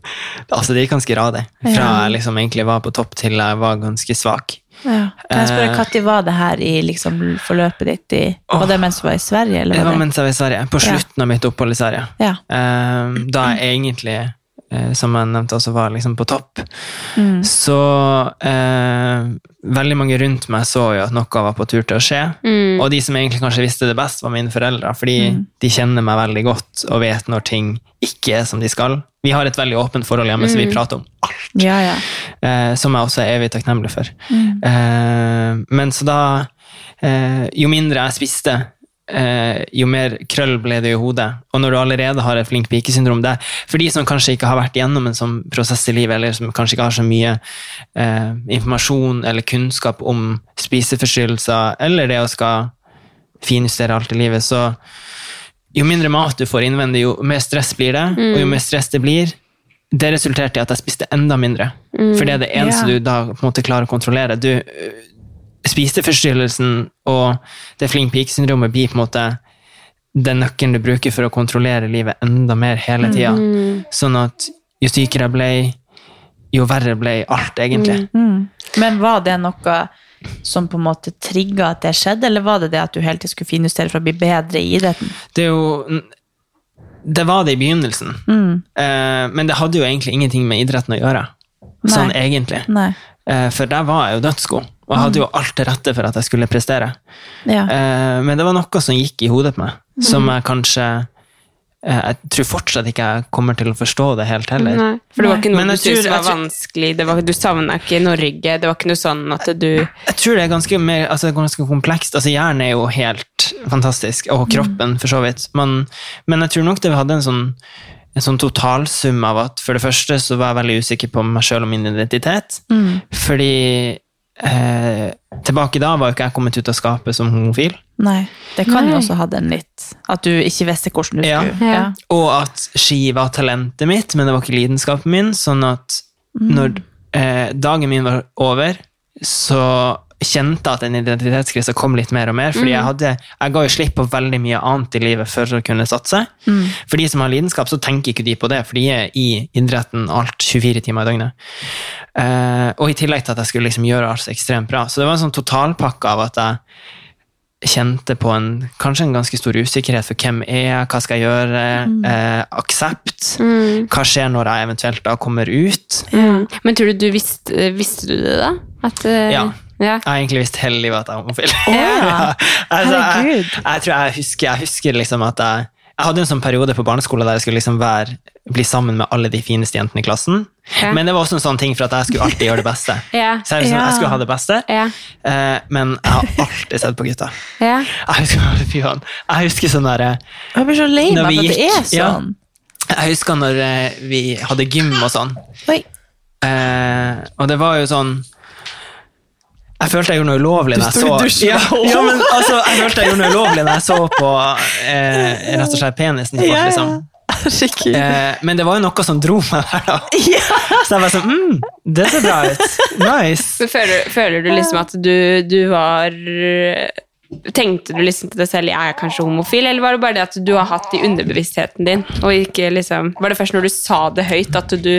Speaker 3: Altså, det gikk ganske radig. Fra jeg liksom egentlig var på topp til jeg var ganske svak.
Speaker 1: Kan jeg spørre,
Speaker 3: Eh.
Speaker 1: Når var det her i liksom, forløpet ditt? I,
Speaker 3: Åh.
Speaker 1: var det mens du var i Sverige? Eller
Speaker 3: Det
Speaker 1: var
Speaker 3: var
Speaker 1: det?
Speaker 3: mens jeg var i Sverige. På
Speaker 1: Ja.
Speaker 3: slutten av mitt opphold i Sverige.
Speaker 1: Ja.
Speaker 3: Eh, da jeg egentlig, eh, som jeg nevnte, også var liksom på topp.
Speaker 1: Mm.
Speaker 3: Så eh, veldig mange rundt meg så jo at noe var på tur til å skje.
Speaker 1: Mm.
Speaker 3: Og de som egentlig kanskje visste det best, var mine foreldre. Fordi de kjenner meg veldig godt og vet når ting ikke er som de skal. Vi har et veldig åpent forhold hjemme,
Speaker 1: Mm.
Speaker 3: så vi prater om alt
Speaker 1: Ja, ja.
Speaker 3: eh, som jeg også er evig takknemlig for. Eh, men så da eh, Jo mindre jeg spiste, eh, jo mer krøll ble det i hodet. Og når du allerede har et flink pike-syndrom det er For de som kanskje ikke har vært igjennom en sånn prosess i livet, eller som kanskje ikke har så mye eh, informasjon eller kunnskap om spiseforstyrrelser, eller det å skal finjustere alt i livet, så jo mindre mat du får innvendig, jo mer stress blir det. Og jo mer stress det blir, det resulterte i at jeg spiste enda mindre. For det er det eneste
Speaker 1: Ja.
Speaker 3: du da på en måte klarer å kontrollere. Du, øh, spiseforstyrrelsen og det flink pike-syndromet blir på en måte den nøkkelen du bruker for å kontrollere livet enda mer hele tida. Sånn at jo sykere jeg ble, jo verre ble alt, egentlig.
Speaker 1: Mm. Men var det noe som på en måte trigga at det skjedde, eller var det det at du hele tiden skulle finjustere for å bli bedre i idretten?
Speaker 3: det er jo Det var det i begynnelsen.
Speaker 1: Mm.
Speaker 3: Eh, men det hadde jo egentlig ingenting med idretten å gjøre. Sånn
Speaker 1: Nei.
Speaker 3: egentlig.
Speaker 1: Nei. Mm.
Speaker 3: Eh, for der var jeg jo dødsgod, og jeg hadde jo alt til rette for at jeg skulle prestere.
Speaker 1: Ja.
Speaker 3: Eh, men det var noe som gikk i hodet på meg, som
Speaker 1: Mm.
Speaker 3: jeg kanskje eh, Jeg tror fortsatt ikke jeg kommer til å forstå det helt heller.
Speaker 2: Nei, for det var ikke
Speaker 3: Men
Speaker 2: noe
Speaker 3: jeg
Speaker 2: du
Speaker 3: tror-
Speaker 2: syntes var
Speaker 3: jeg tror-
Speaker 2: vanskelig, det var, du savna ikke Norge, det var ikke noe sånn at du
Speaker 3: Jeg tror det er ganske, mer, altså, det er ganske komplekst. Altså, hjernen er jo helt fantastisk, og kroppen for så vidt. Men, men jeg tror nok det hadde en sånn, en sånn totalsum av at for det første så var jeg veldig usikker på meg sjøl og min identitet. Fordi eh, tilbake da var jo ikke jeg kommet ut av skapet som homofil.
Speaker 1: Nei. Det kan
Speaker 2: Nei.
Speaker 1: jo også ha den litt At du ikke visste hvordan du
Speaker 3: Ja.
Speaker 1: skulle
Speaker 2: Ja.
Speaker 3: Og at ski var talentet mitt, men det var ikke lidenskapen min. Sånn at når eh, dagen min var over, så kjente at den identitetskrisen kom litt mer og mer. fordi jeg, hadde, jeg ga jo slipp på veldig mye annet i livet for å kunne satse. For de som har lidenskap, så tenker ikke de på det, for de er i idretten alt 24 timer i døgnet. Eh, og i tillegg til at jeg skulle liksom gjøre alt så ekstremt bra. Så det var en sånn totalpakke av at jeg kjente på en, kanskje en ganske stor usikkerhet for hvem er jeg, hva skal jeg gjøre, eh, aksept,
Speaker 2: Mm.
Speaker 3: hva skjer når jeg eventuelt da kommer ut.
Speaker 2: Men tror du du visste, visste du det, da? At, eh,
Speaker 3: Ja.
Speaker 2: ja.
Speaker 3: Jeg har egentlig visst hele livet at jeg er homofil.
Speaker 2: Ja.
Speaker 3: altså, jeg,
Speaker 1: Herregud.
Speaker 3: jeg tror jeg husker, jeg husker liksom at jeg, jeg hadde en sånn periode på barneskolen der jeg skulle liksom være, bli sammen med alle de fineste jentene i klassen.
Speaker 2: Ja.
Speaker 3: Men det var også en sånn ting for at jeg skulle alltid gjøre det beste.
Speaker 2: Ja.
Speaker 3: Så jeg, liksom,
Speaker 1: Ja.
Speaker 3: jeg skulle ha det beste,
Speaker 2: Ja.
Speaker 3: eh, men jeg har alltid sett på gutta.
Speaker 2: Ja.
Speaker 3: Jeg husker, fy faen. jeg husker sånn derre
Speaker 1: Jeg blir så lei
Speaker 3: Når
Speaker 1: meg
Speaker 3: vi
Speaker 1: for at det er
Speaker 3: gikk, ja.
Speaker 1: sånn.
Speaker 3: Jeg husker når eh, vi hadde gym og sånn.
Speaker 1: Oi.
Speaker 3: Eh, og det var jo sånn Jeg følte jeg gjorde noe ulovlig da jeg
Speaker 1: sto i
Speaker 3: så
Speaker 1: dusjen.
Speaker 3: ja, ja, men altså, jeg følte jeg gjorde noe ulovlig da jeg så på eh, rett og slett penisen til folk,
Speaker 1: Ja, ja.
Speaker 3: liksom.
Speaker 1: Herregud.
Speaker 3: Eh, men det var jo noe som dro meg der, da. Så jeg var sånn mm, Det ser bra ut. Nice.
Speaker 2: Så føler, føler du liksom at du, du var Tenkte du liksom til deg selv er jeg kanskje homofil, eller var det bare det at du har hatt i underbevisstheten din? Og ikke liksom, Var det først når du sa det høyt at du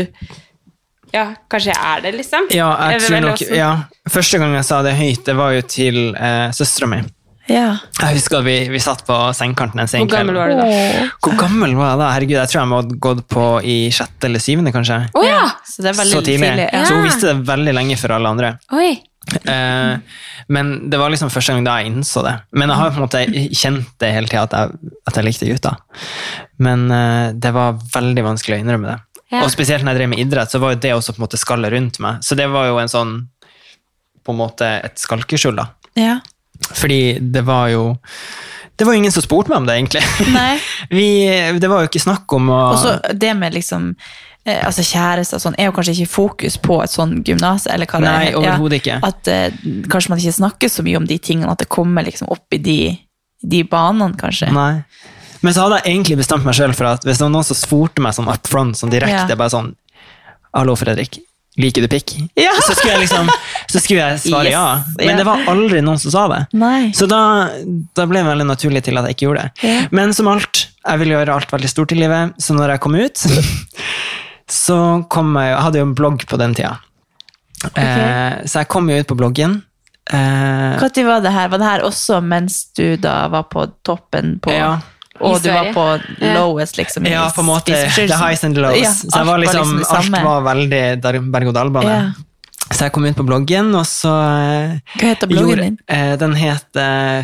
Speaker 2: Ja, kanskje jeg er det, liksom?
Speaker 3: Ja, jeg
Speaker 2: Eller
Speaker 3: tror
Speaker 2: vel
Speaker 3: nok,
Speaker 2: også-
Speaker 3: ja, Første gang jeg sa det høyt, det var jo til eh, søstera mi.
Speaker 1: Ja.
Speaker 3: Jeg husker vi, vi satt på sengekanten en sen
Speaker 2: Hvor gammel var du da?
Speaker 3: Hvor gammel var jeg da? Herregud, jeg tror jeg må ha gått på i sjette eller syvende, kanskje.
Speaker 2: Å ja!
Speaker 1: Så det er veldig
Speaker 3: så tidlig.
Speaker 1: ja.
Speaker 3: Så hun visste det veldig lenge for alle andre.
Speaker 2: Oi.
Speaker 3: Eh, men det var liksom første gang da jeg innså det. Men jeg har på en måte kjent det hele tida, at, jeg- at jeg likte gutter. Men eh, det var veldig vanskelig å innrømme det.
Speaker 2: Ja.
Speaker 3: Og spesielt når jeg drev med idrett, så var jo det også på en måte skallet rundt meg. Så det var jo en sånn på en måte et skalkeskjul, da.
Speaker 1: Ja.
Speaker 3: Fordi det var jo Det var jo ingen som spurte meg om det, egentlig.
Speaker 1: Nei.
Speaker 3: Vi, det var jo ikke snakk om å
Speaker 1: Og så det med liksom eh, altså kjærester og sånn, er jo kanskje ikke fokus på et sånn gymnas. eller hva det
Speaker 3: Nei,
Speaker 1: er.
Speaker 3: overhodet ikke.
Speaker 1: At eh, Kanskje man ikke snakker så mye om de tingene, at det kommer liksom opp i de, de banene, kanskje.
Speaker 3: Nei. Men så hadde jeg egentlig bestemt meg selv for at hvis det var noen som spurte meg sånn up front, sånn direkte,
Speaker 1: Ja.
Speaker 3: bare sånn Hallo, Fredrik. Liker du pikk?
Speaker 1: Ja.
Speaker 3: Så skulle jeg liksom så skulle jeg svare
Speaker 1: Yes.
Speaker 3: ja. Men
Speaker 1: Ja.
Speaker 3: det var aldri noen som sa det.
Speaker 1: Nei.
Speaker 3: Så da, da ble det veldig naturlig til at jeg ikke gjorde det.
Speaker 1: Ja.
Speaker 3: Men som alt, jeg ville gjøre alt veldig stort i livet, så når jeg kom ut, så kom jeg, jeg hadde jo en blogg på den tida. Eh, så jeg kom jo ut på bloggen. Eh,
Speaker 1: Når var det her? Var det her også mens du da var på toppen på
Speaker 3: Ja.
Speaker 1: Og
Speaker 2: I
Speaker 1: du var
Speaker 2: Sverige.
Speaker 1: på
Speaker 2: Ja.
Speaker 1: lowest, liksom? i
Speaker 3: Ja, på en måte.
Speaker 1: spiseforstyrrelsen?
Speaker 3: The highs and the lows.
Speaker 1: Ja,
Speaker 3: så jeg var liksom,
Speaker 1: det
Speaker 3: alt
Speaker 1: samme.
Speaker 3: var veldig der- berg-og-dal-bane.
Speaker 1: Ja.
Speaker 3: Så jeg kom ut på bloggen, og så eh,
Speaker 1: Hva heter bloggen
Speaker 3: gjorde-
Speaker 1: din?
Speaker 3: Eh, den het eh,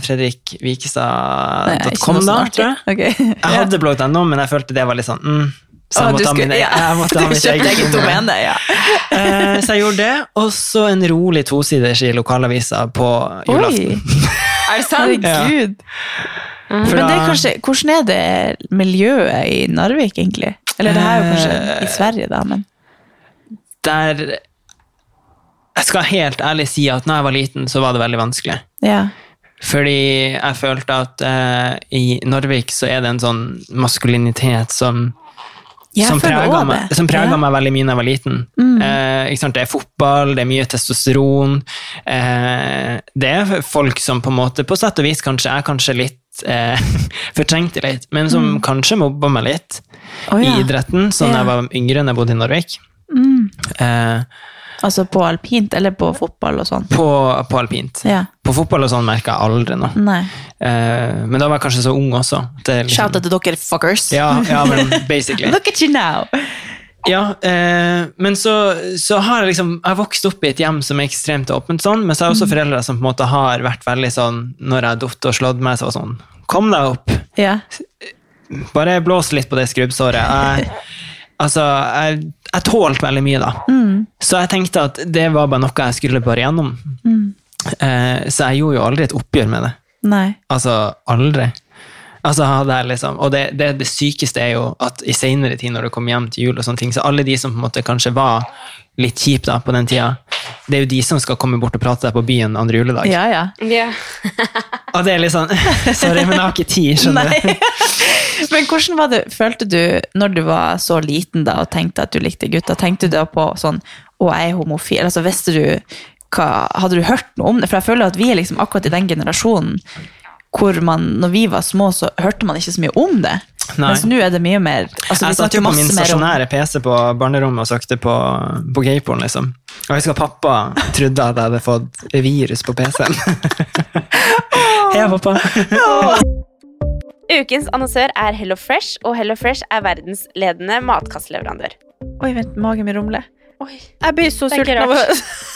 Speaker 1: Nei, ikke
Speaker 3: fredrikvikestad.com,
Speaker 1: noe
Speaker 3: da,
Speaker 1: sånn
Speaker 3: tror jeg.
Speaker 1: artig. Ok.
Speaker 3: Jeg hadde blogg.no, men jeg følte det var litt sånn mm, Så jeg
Speaker 1: Å, du
Speaker 3: måtte ha
Speaker 1: skulle-
Speaker 3: min,
Speaker 1: ja.
Speaker 3: jeg måtte ha
Speaker 1: Du
Speaker 3: mitt
Speaker 1: kjøpte
Speaker 3: eget
Speaker 1: eget domene, ja.
Speaker 3: Eh, så jeg gjorde det, og så en rolig tosiders i lokalavisa på julaften.
Speaker 2: Er det sant?
Speaker 1: Herregud.
Speaker 3: For
Speaker 1: Men det er
Speaker 3: da-
Speaker 1: kanskje, hvordan er det miljøet i Narvik, egentlig? Eller det er jo kanskje
Speaker 3: Eh,
Speaker 1: i Sverige, da, men
Speaker 3: der Jeg skal helt ærlig si at når jeg var liten, så var det veldig vanskelig.
Speaker 1: ja.
Speaker 3: Fordi jeg følte at eh, i Narvik så er det en sånn maskulinitet som
Speaker 1: Jeg
Speaker 3: som
Speaker 1: føler
Speaker 3: prega,
Speaker 1: også
Speaker 3: meg,
Speaker 1: det.
Speaker 3: som preget
Speaker 1: Ja. Mm.
Speaker 3: meg veldig mye da jeg var liten. Eh, ikke sant? Det er fotball, det er mye testosteron. Eh, det er folk som på en måte, på sett og vis kanskje er kanskje litt eh, fortrengte litt, men som kanskje mobba meg litt
Speaker 1: Mm. Å, ja.
Speaker 3: i idretten, sånn da
Speaker 1: Ja. Mm.
Speaker 3: jeg var yngre enn jeg bodde i Narvik. Eh,
Speaker 1: Altså på alpint, eller på fotball og sånn.
Speaker 3: på, på alpint.
Speaker 1: Ja. Mm.
Speaker 3: På fotball og sånn merka jeg aldri noe.
Speaker 1: Nei.
Speaker 3: Eh, men da var jeg kanskje så ung også. Det er liksom-
Speaker 1: Shout out til dere, fuckers!
Speaker 3: Ja, ja, men basically.
Speaker 1: Look at you now!
Speaker 3: Ja, eh, men så, så har jeg liksom Jeg har vokst opp i et hjem som er ekstremt åpent, sånn, men så har jeg også foreldre som på en måte har vært veldig sånn Når jeg har datt og slått meg, så var det sånn Kom deg opp!
Speaker 1: Ja.
Speaker 3: Bare blås litt på det skrubbsåret. Jeg, altså, jeg, jeg tålte veldig mye, da. Så jeg tenkte at det var bare noe jeg skulle bare gjennom. Eh, så jeg gjorde jo aldri et oppgjør med det.
Speaker 1: Nei.
Speaker 3: Altså, aldri. Altså, hadde jeg liksom, og det, det, det sykeste er jo at i senere tid, når du kommer hjem til jul, og sånne ting, så alle de som på en måte kanskje var litt kjipe da, på den tida, det er jo de som skal komme bort og prate deg på byen andre juledag.
Speaker 1: Ja, ja.
Speaker 2: Ja.
Speaker 3: Og det er litt sånn Sorry, men jeg har ikke tid, skjønner du.
Speaker 1: Men hvordan var det, følte du når du var så liten da, og tenkte at du likte gutter? Tenkte du da på sånn, å jeg er homofil? Altså, visste du hva, hadde du hørt noe om det? For jeg føler at vi er liksom akkurat i den generasjonen hvor man, når vi var små, så hørte man ikke så mye om det.
Speaker 3: Nei.
Speaker 1: Mens nå er det mye mer altså, vi
Speaker 3: jeg satt jo
Speaker 1: snakker
Speaker 3: på
Speaker 1: masse
Speaker 3: min
Speaker 1: mer om-
Speaker 3: stasjonære PC på barnerommet og søkte på, på gayporn, liksom. Og jeg husker at pappa trodde at jeg hadde fått virus på PC-en. Hei, pappa.
Speaker 2: Ukens annonsør er HelloFresh, og HelloFresh er verdensledende matkastleverandør.
Speaker 1: Oi, vent, magen min rumler.
Speaker 2: Oi.
Speaker 1: Jeg blir så
Speaker 2: Det er ikke
Speaker 1: sulten av å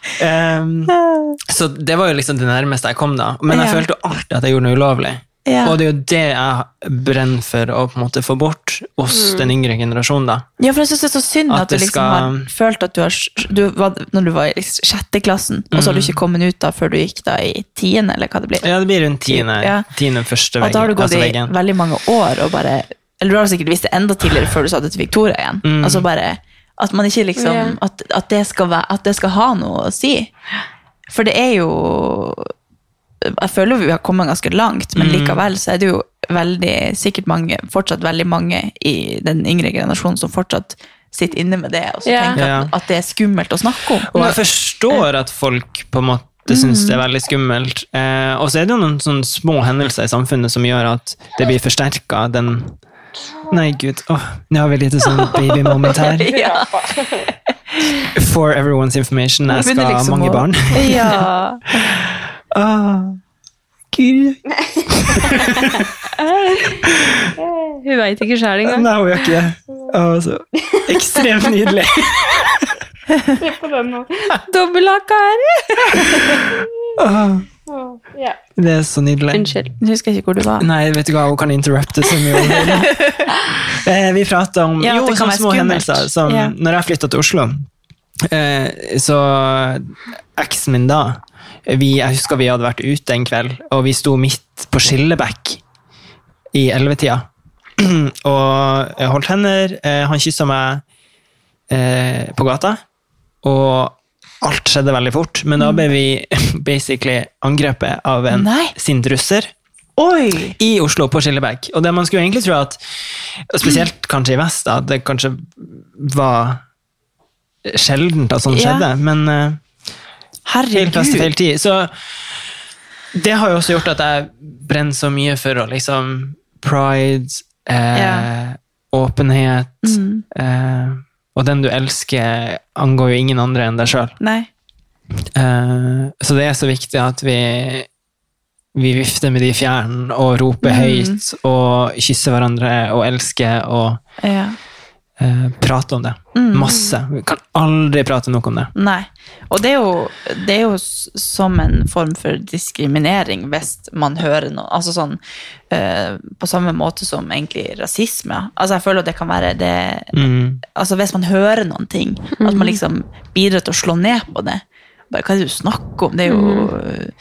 Speaker 3: Ehm, så det var jo liksom det nærmeste jeg kom, da. Men jeg
Speaker 1: Ja.
Speaker 3: følte jo alltid at jeg gjorde noe ulovlig.
Speaker 1: Ja.
Speaker 3: Og det er jo det jeg brenner for å på en måte få bort
Speaker 1: Mm.
Speaker 3: hos den yngre generasjonen, da.
Speaker 1: Ja, for jeg synes det er så synd
Speaker 3: At
Speaker 1: at, du
Speaker 3: det
Speaker 1: liksom
Speaker 3: skal-
Speaker 1: har følt at du har du var, Når du var i liksom sjette klassen, og så har du ikke kommet ut da før du gikk da i tiende, eller hva det blir.
Speaker 3: Mm. Ja, det blir rundt tiende,
Speaker 1: Ja.
Speaker 3: tiende første
Speaker 1: At da har du
Speaker 3: veggen.
Speaker 1: gått
Speaker 3: Altså
Speaker 1: i
Speaker 3: veggen.
Speaker 1: veldig mange år og bare Eller du har sikkert visst det enda tidligere før du sa det til Victoria igjen.
Speaker 3: Mm.
Speaker 1: Altså bare At man ikke liksom
Speaker 2: Ja.
Speaker 1: at, at, det skal være, at det skal ha noe å si. For det er jo Jeg føler jo vi har kommet ganske langt,
Speaker 3: Mm.
Speaker 1: men likevel så er det jo veldig, sikkert mange, fortsatt veldig mange i den yngre generasjonen som fortsatt sitter inne med det, og så
Speaker 4: Ja.
Speaker 1: tenker
Speaker 3: Ja.
Speaker 1: at, at det er skummelt å snakke om.
Speaker 3: Og jeg forstår at folk på en måte
Speaker 1: Mm.
Speaker 3: syns det er veldig skummelt. Eh, og så er det jo noen sånne små hendelser i samfunnet som gjør at det blir forsterka den Nei, gud. Åh, nå har vi et lite sånn baby moment her.
Speaker 1: ja.
Speaker 3: For everyone's information. Jeg skal ha mange barn.
Speaker 1: liksom ja.
Speaker 3: Ah, gud.
Speaker 4: Hun veit ikke sjæl engang.
Speaker 3: Nei, hun gjør ikke det. Altså, ekstremt nydelig.
Speaker 4: Dobbelthaka her!
Speaker 3: Åh, det er så nydelig.
Speaker 4: Unnskyld.
Speaker 1: Jeg husker ikke hvor du var.
Speaker 3: Nei, vet du hva, hun kan interrupte så mye. hun vil. eh, vi prater om
Speaker 1: Ja, at
Speaker 3: jo,
Speaker 1: det kan
Speaker 3: sånne
Speaker 1: være
Speaker 3: små
Speaker 1: skummelt.
Speaker 3: hendelser. Som,
Speaker 1: Ja.
Speaker 3: Når jeg flytta til Oslo, eh, så eksen min da vi, Jeg husker vi hadde vært ute en kveld, og vi sto midt på Skillebekk i ellevetida. og jeg holdt hender. Eh, han kyssa meg eh, på gata, og alt skjedde veldig fort. Men da ble vi basically angrepet av en
Speaker 1: Mm. Nei.
Speaker 3: sint russer
Speaker 1: Oi!
Speaker 3: i Oslo på Skillebekk. Og det man skulle egentlig tro at, og spesielt kanskje i vest, da, at det kanskje var sjeldent at sånt
Speaker 1: Ja.
Speaker 3: skjedde, men eh, feil plass til feil tid. Så det har jo også gjort at jeg brenner så mye for å liksom pride, eh,
Speaker 1: Ja. Mm.
Speaker 3: åpenhet, eh, og den du elsker angår jo ingen andre enn deg sjøl.
Speaker 1: Nei.
Speaker 3: Eh, så det er så viktig at vi vi vifter med de
Speaker 1: Mm.
Speaker 3: fjærene og roper høyt og kysser hverandre og elsker og
Speaker 1: Ja.
Speaker 3: eh, eh, prate om det.
Speaker 1: Mm.
Speaker 3: Masse. Vi kan aldri prate nok om det.
Speaker 1: Nei. Og det er, jo, det er jo s- som en form for diskriminering hvis man hører noe. Altså sånn eh, På samme måte som egentlig rasisme. Altså jeg føler at det kan være det Altså hvis man hører noen ting,
Speaker 3: Mm.
Speaker 1: at man liksom bidrar til å slå ned på det. Bare hva er det du snakker om? Det er jo
Speaker 3: Mm.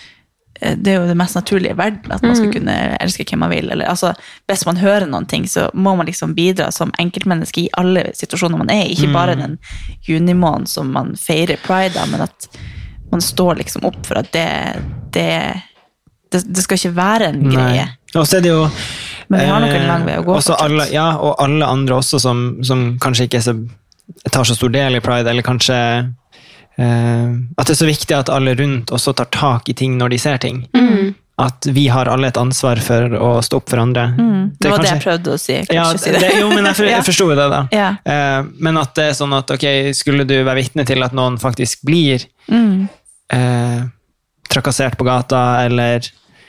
Speaker 1: eh, det er jo det mest naturlige i verden, at man skal kunne elske hvem man vil. Eller, altså, hvis man hører noen ting, så må man liksom bidra som enkeltmenneske i alle situasjoner man er i. Ikke
Speaker 3: Mm.
Speaker 1: bare den junimåneden som man feirer pride av, men at man står liksom opp for at det Det, det, det skal ikke være en greie.
Speaker 3: Og så er det jo
Speaker 1: Men vi har nok en
Speaker 3: eh,
Speaker 1: lang vei å gå,
Speaker 3: også
Speaker 1: fortsatt.
Speaker 3: alle, ja, og alle andre også som, som kanskje ikke er så, tar så stor del i pride, eller kanskje eh, At det er så viktig at alle rundt også tar tak i ting når de ser ting.
Speaker 1: Mm.
Speaker 3: At vi har alle et ansvar for å stå opp for andre.
Speaker 1: Mm. Det, var det jeg prøvde å si. Jeg kunne
Speaker 3: Ja,
Speaker 1: ikke si
Speaker 3: det, jo, men jeg, for,
Speaker 1: Ja.
Speaker 3: jeg forsto jo det, da.
Speaker 1: Ja.
Speaker 3: Eh, men at det er sånn at ok, skulle du være vitne til at noen faktisk blir
Speaker 1: Mm.
Speaker 3: eh, trakassert på gata, eller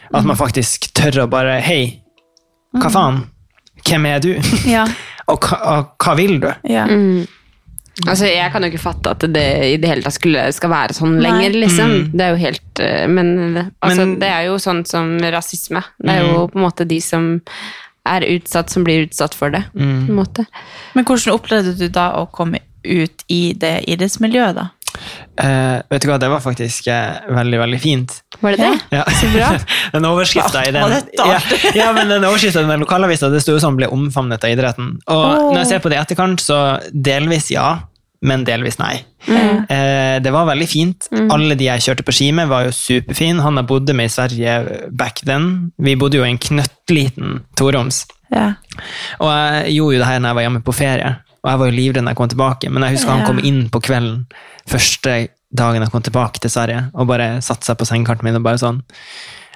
Speaker 3: at
Speaker 1: Mm.
Speaker 3: man faktisk tør å bare Hei, hva faen? Hvem er du?
Speaker 1: Ja,
Speaker 3: og, hva, og hva vil du?
Speaker 1: ja.
Speaker 2: Altså, Jeg kan jo ikke fatte at det i det hele tatt skulle, skal være sånn
Speaker 1: Nei.
Speaker 2: lenger, liksom. Det er jo helt eh, Men altså,
Speaker 3: Men-
Speaker 2: det er jo sånn som rasisme. Det er
Speaker 1: Mm.
Speaker 2: jo på en måte de som er utsatt, som blir utsatt for det.
Speaker 1: Mm.
Speaker 2: På en måte.
Speaker 1: Men hvordan opplevde du da å komme ut i det idrettsmiljøet, da?
Speaker 3: Eh, vet du hva, det var faktisk eh, veldig, veldig fint.
Speaker 2: Var det det?
Speaker 3: Ja. den overskrifta i
Speaker 1: Var
Speaker 3: den,
Speaker 1: dette
Speaker 3: ja,
Speaker 1: artig?
Speaker 3: ja, men den overskriften i den lokalavisa det sto jo sånn 'ble omfavnet av idretten'. Og når jeg ser på det i etterkant, så delvis ja, men delvis nei. Eh, det var veldig fint. Alle de jeg kjørte på ski med, var jo superfine. Han jeg bodde med i Sverige back then, vi bodde jo i en knøttliten toroms.
Speaker 1: Ja.
Speaker 3: Og jeg gjorde jo det her når jeg var hjemme på ferie, og jeg var jo livredd når jeg kom tilbake, men jeg husker han
Speaker 1: Ja.
Speaker 3: kom inn på kvelden første dagen jeg kom tilbake til Sverige, og bare satte seg på sengekartet min og bare sånn,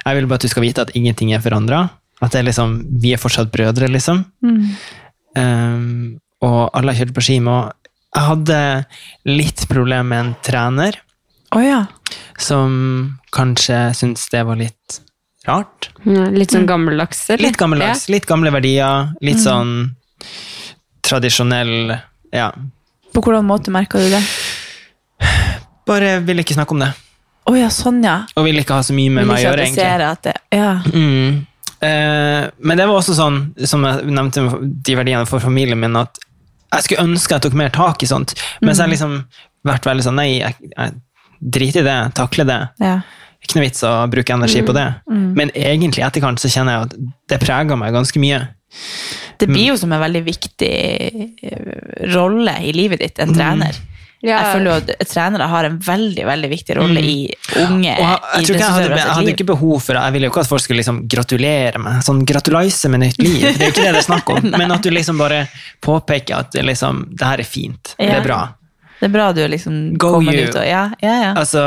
Speaker 3: jeg vil bare at du skal vite at ingenting er forandret, at det er liksom, vi er fortsatt brødre, liksom. Um, og alle har kjørt på ski med, og jeg hadde litt problem med en trener,
Speaker 1: Å ja.
Speaker 3: som kanskje syntes det var litt rart,
Speaker 2: Ja, litt sånn gammeldags, eller?
Speaker 3: Litt gammeldags. Litt gamle verdier. Litt
Speaker 1: Mm.
Speaker 3: sånn tradisjonell Ja.
Speaker 1: På hvordan måte merka du det?
Speaker 3: Bare vil ikke snakke om det.
Speaker 1: Å ja, sånn, ja.
Speaker 3: Og vil ikke ha så mye med
Speaker 1: Vil
Speaker 3: meg å
Speaker 1: ikke
Speaker 3: gjøre, egentlig.
Speaker 1: adressere at det, ja.
Speaker 3: Mm. Eh, men det var også sånn, som jeg nevnte, med de verdiene for familien min, at jeg skulle ønske jeg tok mer tak i sånt, mens jeg
Speaker 1: Mm.
Speaker 3: liksom vært veldig sånn Nei, jeg, jeg driter i det. Takler det.
Speaker 1: Ja.
Speaker 3: Ikke noe vits å bruke energi
Speaker 1: Mm.
Speaker 3: på det. Men egentlig, i etterkant, så kjenner jeg at det preger meg ganske mye.
Speaker 1: Det blir jo som en veldig viktig eh, rolle i livet ditt,
Speaker 3: Mm.
Speaker 1: en trener.
Speaker 2: Ja.
Speaker 1: Jeg føler jo at trenere har en veldig veldig viktig rolle i unge
Speaker 3: Mm. Og jeg, jeg, tror ikke jeg, hadde, jeg
Speaker 1: idrettsutøveres
Speaker 3: hadde
Speaker 1: liv.
Speaker 3: ikke behov for det. Jeg ville jo ikke at folk skulle liksom gratulere meg. Sånn gratuleise med nytt liv. Det er jo ikke det det er snakk om. Men at du liksom bare påpeker at det, liksom, det her er fint. Det
Speaker 1: Ja.
Speaker 3: er bra.
Speaker 1: Det er bra du liksom
Speaker 3: Go
Speaker 1: kommer
Speaker 3: you.
Speaker 1: ut og ja, ja, ja.
Speaker 3: Altså,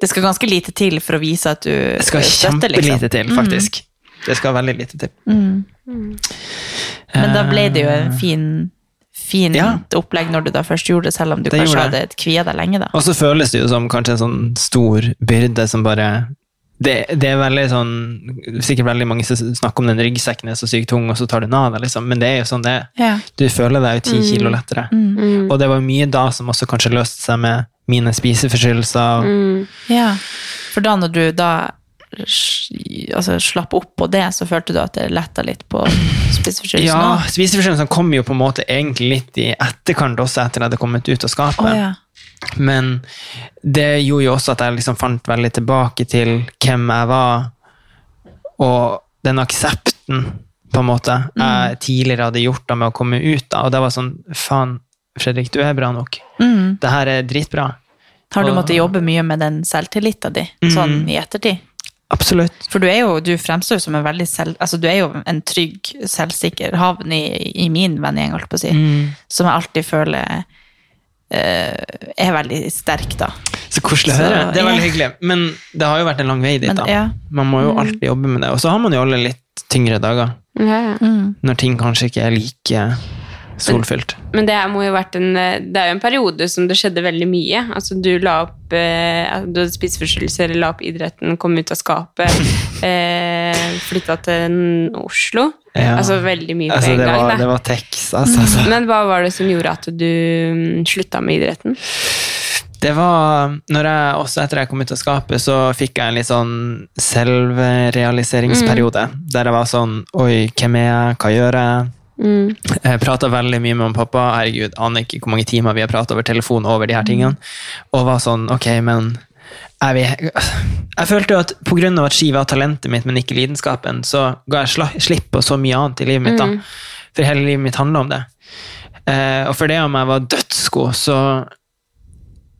Speaker 1: Det skal ganske lite til for å vise at du
Speaker 3: det skal
Speaker 1: liksom.
Speaker 3: kjempelite
Speaker 1: Mm.
Speaker 3: til, faktisk. Det skal veldig lite til.
Speaker 1: Men da ble det jo en fin fint
Speaker 3: Eh. Ja.
Speaker 1: opplegg når du da først gjorde det, selv om du
Speaker 3: Det
Speaker 1: kanskje
Speaker 3: gjorde
Speaker 1: hadde kvia deg lenge, da.
Speaker 3: Og så føles det jo som kanskje en sånn stor byrde som bare det, det er veldig sånn Sikkert veldig mange som snakker om den ryggsekken er så sykt tung, og så tar du den av deg, liksom. Men det er jo sånn det er.
Speaker 1: Ja.
Speaker 3: Du føler deg jo
Speaker 1: Mm.
Speaker 3: ti kilo lettere. Og det var mye da som også kanskje løste seg med mine spiseforstyrrelser.
Speaker 1: Mm. Ja, for da når du da sj- altså, slapp opp på det, så følte du at det letta litt på spiseforstyrrelsen?
Speaker 3: Ja,
Speaker 1: også?
Speaker 3: spiseforstyrrelsene kom jo på en måte egentlig litt i etterkant også, etter at jeg hadde kommet ut av skapet.
Speaker 1: Å, ja.
Speaker 3: Men det gjorde jo også at jeg liksom fant veldig tilbake til hvem jeg var, og den aksepten, på en måte,
Speaker 1: Mm.
Speaker 3: jeg tidligere hadde gjort da med å komme ut. da, Og det var sånn Faen, Fredrik, du er bra nok.
Speaker 1: Mm.
Speaker 3: Det her er dritbra.
Speaker 1: Har du
Speaker 3: Og- Mm.
Speaker 1: måttet jobbe mye med den selvtilliten din, sånn i ettertid?
Speaker 3: Absolutt.
Speaker 1: For du er jo, du fremstår jo som en veldig selv... Altså, du er jo en trygg, selvsikker havn i, i min vennegjeng, holdt på å si.
Speaker 3: Mm.
Speaker 1: Som jeg alltid føler eh, er veldig sterk, da.
Speaker 3: Så koselig å
Speaker 1: Så,
Speaker 3: høre. Det er veldig
Speaker 1: ja.
Speaker 3: hyggelig. Men det har jo vært en lang vei dit,
Speaker 1: Men,
Speaker 3: da.
Speaker 1: ja.
Speaker 3: Man må
Speaker 2: Mm.
Speaker 3: jo alltid jobbe med det. Og så har man jo alle litt tyngre dager,
Speaker 2: Ja, ja.
Speaker 3: når ting kanskje ikke er like Solfylt.
Speaker 2: Men det her må jo ha vært en eh, Det er jo en periode som det skjedde veldig mye. Altså Du la opp eh, altså, Du hadde spiseforstyrrelser, la opp idretten, kom ut av skapet. eh, Flytta til Oslo.
Speaker 3: Ja.
Speaker 2: Altså veldig mye på
Speaker 3: Altså,
Speaker 2: en
Speaker 3: det,
Speaker 2: gang.
Speaker 3: var,
Speaker 2: da.
Speaker 3: det var Tex, altså. altså.
Speaker 2: Men hva var det som gjorde at du mm, slutta med idretten?
Speaker 3: Det var når jeg, Også etter jeg kom ut av skapet, så fikk jeg en litt sånn selvrealiseringsperiode. Der jeg var sånn Oi, hvem er jeg? Hva gjør jeg? Jeg prata veldig mye med pappa. Herregud, aner ikke hvor mange timer vi har prata over telefon over de her tingene. Og var sånn Ok, men jeg, vil- jeg følte jo at pga. at ski var talentet mitt, men ikke lidenskapen, så ga jeg sla- slipp på så mye annet i livet mitt. da. For hele livet mitt handla om det. Eh, og for det om jeg var dødsgod, så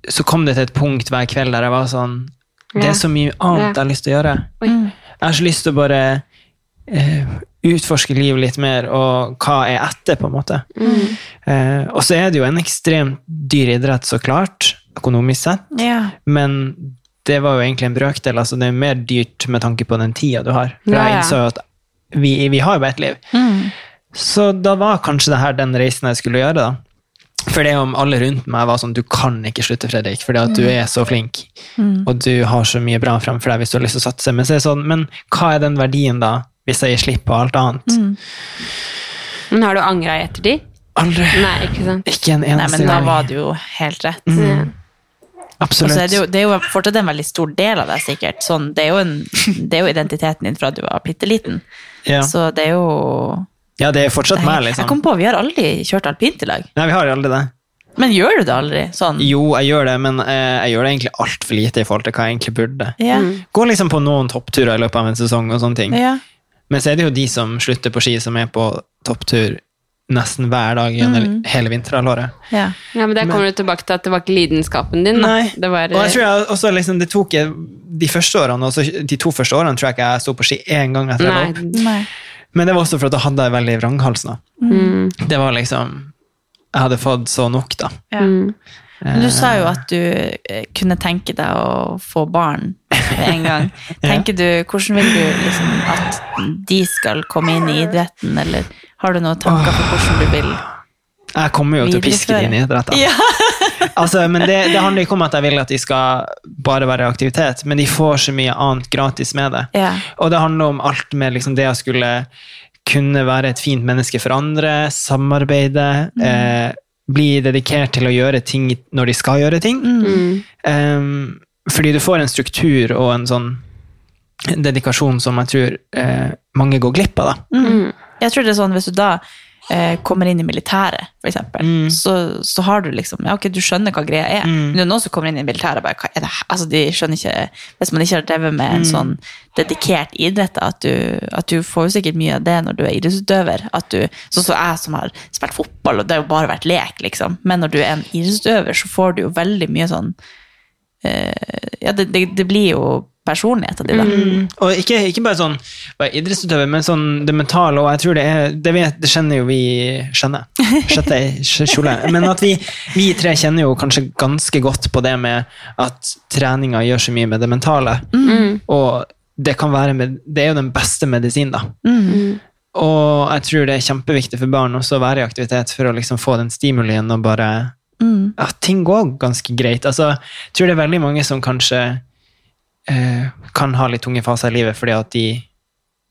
Speaker 3: så kom det til et punkt hver kveld der jeg var sånn Det er så mye annet jeg har lyst til å gjøre. Jeg har så lyst til å bare eh, utforske livet litt mer, og hva er etter, på en måte. Eh, og så er det jo en ekstremt dyr idrett, så klart, økonomisk sett,
Speaker 1: Ja.
Speaker 3: men det var jo egentlig en brøkdel. altså Det er mer dyrt med tanke på den tida du har. For
Speaker 2: Ja, ja.
Speaker 3: jeg innså jo at vi, vi har jo bare ett liv.
Speaker 1: Mm.
Speaker 3: Så da var kanskje det her den reisen jeg skulle gjøre, da. For det om alle rundt meg var sånn Du kan ikke slutte, Fredrik, fordi at du
Speaker 1: Mm.
Speaker 3: er så flink. Og du har så mye bra framfor deg hvis du har lyst til å satse. Men så er det sånn, men hva er den verdien, da, hvis jeg gir slipp på alt annet?
Speaker 1: Mm.
Speaker 2: Men har du angra i ettertid?
Speaker 3: Aldri.
Speaker 2: Nei, ikke sant?
Speaker 3: Ikke en
Speaker 1: Nei,
Speaker 3: eneste
Speaker 1: men da
Speaker 3: gang.
Speaker 1: var det jo helt rett. Og
Speaker 3: Mm, Absolutt.
Speaker 1: så er det, jo, det er jo fortsatt en veldig stor del av deg, sikkert. Sånn, det, er jo en, det er jo identiteten din fra du var bitte liten.
Speaker 3: ja.
Speaker 1: Så det er jo
Speaker 3: ja, det er fortsatt meg,
Speaker 1: Jeg
Speaker 3: liksom.
Speaker 1: kom på, vi har aldri kjørt alpint i lag.
Speaker 3: Nei, vi har aldri det.
Speaker 1: Men gjør du det aldri? Sånn?
Speaker 3: Jo, jeg gjør det, men eh, jeg gjør det egentlig altfor lite i forhold til hva jeg egentlig burde.
Speaker 1: Ja.
Speaker 3: Går liksom på noen toppturer i løpet av en sesong og sånne ting.
Speaker 1: ja.
Speaker 3: Men så er det jo de som slutter på ski, som er på topptur nesten hver dag gjennom
Speaker 1: Mm.
Speaker 3: hele vinterhalvåret.
Speaker 1: ja.
Speaker 2: Ja, men Der kommer du tilbake til at det var ikke lidenskapen din. da. Det var,
Speaker 3: og jeg tror jeg også liksom, det tok jeg, de første årene, også, de to første årene tror jeg ikke jeg sto på ski én gang etter jeg var opp.
Speaker 2: eh, Nei,
Speaker 1: Nei.
Speaker 3: Men det var også for at jeg hadde en veldig vranghals nå.
Speaker 2: Mm.
Speaker 3: Det var liksom, jeg hadde fått så nok da.
Speaker 1: Ja. Men du sa jo at du eh, kunne tenke deg å få barn med en gang. Tenker du, Hvordan vil du liksom at de skal komme inn i idretten, eller har du noen tanker for hvordan du vil
Speaker 3: Jeg kommer jo til å piske
Speaker 1: Videreføre.
Speaker 3: det inn i idrett da.
Speaker 1: Ja.
Speaker 3: altså, men det, det handler ikke om at jeg vil at de skal bare være i aktivitet, men de får så mye annet gratis med det.
Speaker 1: Ja.
Speaker 3: Og det handler om alt med liksom det å skulle kunne være et fint menneske for andre, samarbeide,
Speaker 1: Mm.
Speaker 3: eh, bli dedikert til å gjøre ting når de skal gjøre ting.
Speaker 1: Mm.
Speaker 3: Em, fordi du får en struktur og en sånn dedikasjon som jeg tror eh, mange går glipp av. da.
Speaker 1: Jeg tror det er sånn hvis du da eh, kommer inn i militæret, for eksempel, så, så har du liksom Ja, ok, du skjønner hva greia er. Men det er noen som kommer inn i militæret og bare hva er det her? Altså, de skjønner ikke Hvis man ikke har drevet med en sånn dedikert idrett, da, at du, at du får jo sikkert mye av det når du er idrettsutøver. At du Sånn som jeg som har spilt fotball, og det har jo bare vært lek, liksom. Men når du er en idrettsutøver, så får du jo veldig mye sånn eh, Ja, det, det, det blir jo personligheten din, da.
Speaker 3: Og ikke, ikke bare sånn bare idrettsutøver, men sånn det mentale og jeg tror det er Det, vet, det kjenner jo vi skjønner. Skjøtte, skj- kjole. Men at vi, vi tre kjenner jo kanskje ganske godt på det med at treninga gjør så mye med det mentale. Mm.
Speaker 2: Mm.
Speaker 3: Og det kan være med, Det er jo den beste medisinen, da. Og jeg tror det er kjempeviktig for barn også å være i aktivitet for å liksom få den stimulien og bare At ting går ganske greit. Altså, jeg tror det er veldig mange som kanskje eh, kan ha litt tunge faser i livet, fordi at de,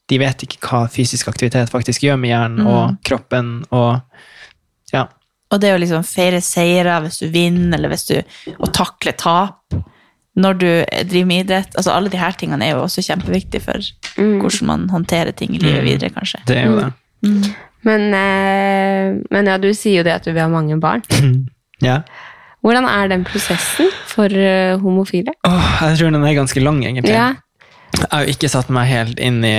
Speaker 3: de vet ikke hva fysisk aktivitet faktisk gjør med hjernen og kroppen. og ja.
Speaker 1: Og det å liksom feire seire hvis du vinner, eller hvis du Å takle tap når du driver med idrett. Altså alle de her tingene er jo også kjempeviktige for hvordan man håndterer ting i livet videre, kanskje.
Speaker 3: Mm. Det er jo det.
Speaker 2: Men, eh, men ja, du sier jo det at du vil ha mange barn.
Speaker 3: Ja.
Speaker 2: Hvordan er den prosessen for eh, homofile?
Speaker 3: Åh, jeg tror den er ganske lang, egentlig.
Speaker 2: Ja.
Speaker 3: Jeg har jo ikke satt meg helt inn i,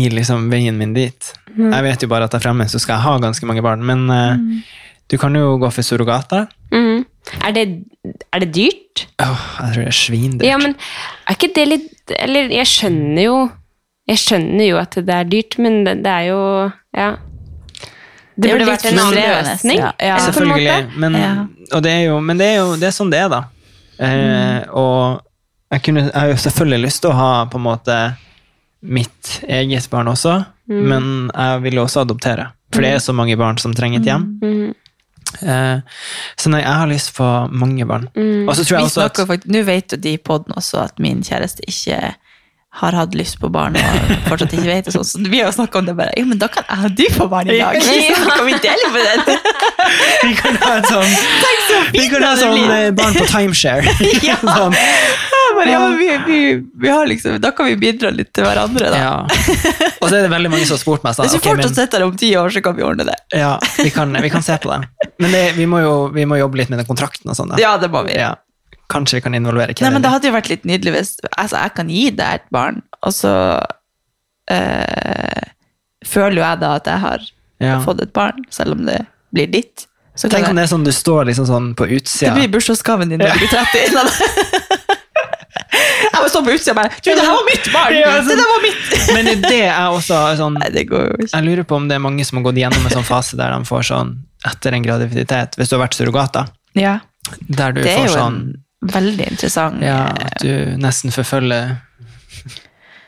Speaker 3: i liksom veien min dit. Jeg vet jo bare at der fremme så skal jeg ha ganske mange barn, men eh,
Speaker 2: Mm.
Speaker 3: du kan jo gå for surrogater.
Speaker 2: Mhm. Er, det, er det dyrt?
Speaker 3: Åh, jeg tror det er svindyrt.
Speaker 2: Ja, men er ikke det litt Eller jeg skjønner jo Jeg skjønner jo at det er dyrt, men det, det er jo Ja. Det,
Speaker 1: burde
Speaker 2: burde
Speaker 1: vært
Speaker 2: vært en annen
Speaker 1: frustrerende,
Speaker 2: løsning.
Speaker 1: ja. Ja.
Speaker 2: på en måte.
Speaker 3: Selvfølgelig. Men,
Speaker 1: Ja. Mm.
Speaker 3: og det er jo, men det er jo det er sånn det er, da. Eh, og jeg, kunne, jeg har jo selvfølgelig lyst til å ha
Speaker 1: Mm.
Speaker 3: på en måte mitt eget barn også, men jeg vil jo også adoptere. For det er så mange barn som trenger et hjem.
Speaker 1: Mm.
Speaker 3: Eh, så nei, jeg har lyst på mange barn. Og så tror
Speaker 1: Vi
Speaker 3: jeg også at
Speaker 1: snakker faktisk, Nå vet jo de i podden også at min kjæreste ikke har hatt lyst på barn og fortsatt ikke vet det. sånn. Så vi har jo snakket om det bare. Jo, men da kan jeg og du få barn i dag! Kan vi dele på den?
Speaker 3: vi kan ha et sånn, vi kan ha
Speaker 1: det
Speaker 3: sånn
Speaker 1: blir.
Speaker 3: eh, barn på timeshare. sånn,
Speaker 1: Ja, men, ja, men vi, vi, vi har liksom, da kan vi bidra litt til hverandre, da.
Speaker 3: ja. Og så er det veldig mange som har spurt meg sånn,
Speaker 1: Hvis vi
Speaker 3: ok, men-
Speaker 1: fortsatt sitter her om ti år, så kan vi ordne det.
Speaker 3: Ja, vi kan, vi kan se på det. Men det, vi, må jo, vi må jobbe litt med den kontrakten og sånn. da.
Speaker 1: Ja, det må vi.
Speaker 3: Ja. Kanskje vi kan involvere
Speaker 1: Nei,
Speaker 3: Kevin.
Speaker 1: men det hadde jo vært litt nydelig hvis altså, jeg kan gi deg et barn, og så eh, føler jo jeg da at jeg har
Speaker 3: Ja.
Speaker 1: fått et barn, selv om det blir ditt. Så kan
Speaker 3: Tenk om
Speaker 1: jeg,
Speaker 3: det er sånn du står liksom sånn på
Speaker 1: det
Speaker 3: utsida.
Speaker 1: blir bursdagsgaven din når du blir 30. innan jeg må stå på utsida og bare Du, det her var mitt barn!
Speaker 3: Ja, sånn.
Speaker 1: Det der var mitt!
Speaker 3: Men det er det jeg også har sånn
Speaker 1: Nei, det går jo ikke.
Speaker 3: Jeg lurer på om det er mange som har gått gjennom en sånn fase der de får sånn etter en graviditet, hvis du har vært surrogat, da,
Speaker 1: Ja,
Speaker 3: der du
Speaker 1: det er
Speaker 3: får
Speaker 1: jo en
Speaker 3: sånn
Speaker 1: veldig interessant
Speaker 3: Ja, at du nesten forfølger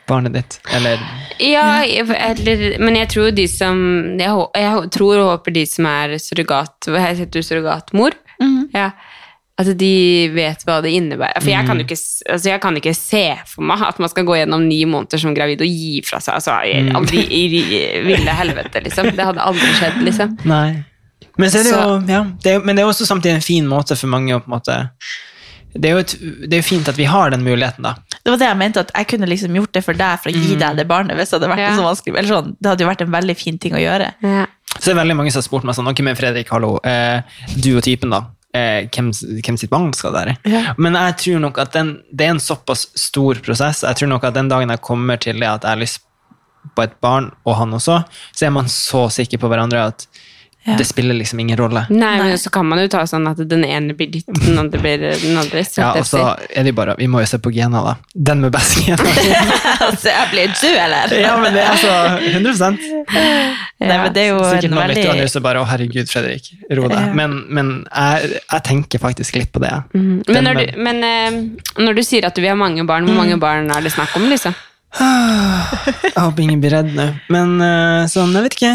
Speaker 3: barnet ditt. Eller
Speaker 2: Ja, eller, men jeg tror de som jeg, hå- jeg tror og håper de som er surrogat Her heter du surrogatmor. Ja, at de vet hva det innebærer. For jeg kan jo ikke, s- altså jeg kan ikke se for meg at man skal gå gjennom ni måneder som gravid og gi fra seg. Altså, i, aldri, i, i ville helvete, liksom. Det hadde aldri skjedd, liksom.
Speaker 3: Nei. Men, så er det
Speaker 2: Så-
Speaker 3: jo, ja, det er, men det er også samtidig en fin måte for mange å på en måte Det er jo et, det er jo fint at vi har den muligheten, da.
Speaker 1: Det var det jeg mente, at jeg kunne liksom gjort det for deg for å
Speaker 3: Mm.
Speaker 1: gi deg det barnet. hvis Det hadde vært
Speaker 2: Ja.
Speaker 1: så vanskelig. Eller sånn, det hadde jo vært en veldig fin ting å gjøre.
Speaker 2: Ja.
Speaker 3: Så det er veldig mange som har spurt meg sånn Ok, men Fredrik, hallo. Eh, du og typen, da. Eh, hvem, hvem sitt barn skal det være?
Speaker 1: Ja.
Speaker 3: Men jeg tror nok at den, det er en såpass stor prosess. Jeg tror nok at den dagen jeg kommer til det at jeg har lyst på et barn, og han også, så er man så sikker på hverandre at det spiller liksom ingen rolle.
Speaker 2: Nei, men så kan man jo ta sånn at den ene blir ditt, den andre blir den andres.
Speaker 3: Ja, altså, og så
Speaker 2: holdt jeg på å si.
Speaker 3: er det jo bare Vi må jo se på gena, da. Den med best gener.
Speaker 1: altså, jeg blir du, eller?
Speaker 3: Ja, men det er altså 100
Speaker 1: Nei, men det er jo
Speaker 3: Sikkert
Speaker 1: en
Speaker 3: noen
Speaker 1: veldig...
Speaker 3: lyttere nå som bare 'Å, herregud, Fredrik, ro deg'. Men, men jeg, jeg tenker faktisk litt på det. jeg. Den
Speaker 2: Mm. Men, når
Speaker 3: med-
Speaker 2: du, men eh, når du sier at vi har mange barn, hvor mange barn er det snakk om? liksom?
Speaker 3: Jeg håper ingen blir redd nå. Men eh, sånn, jeg vet ikke.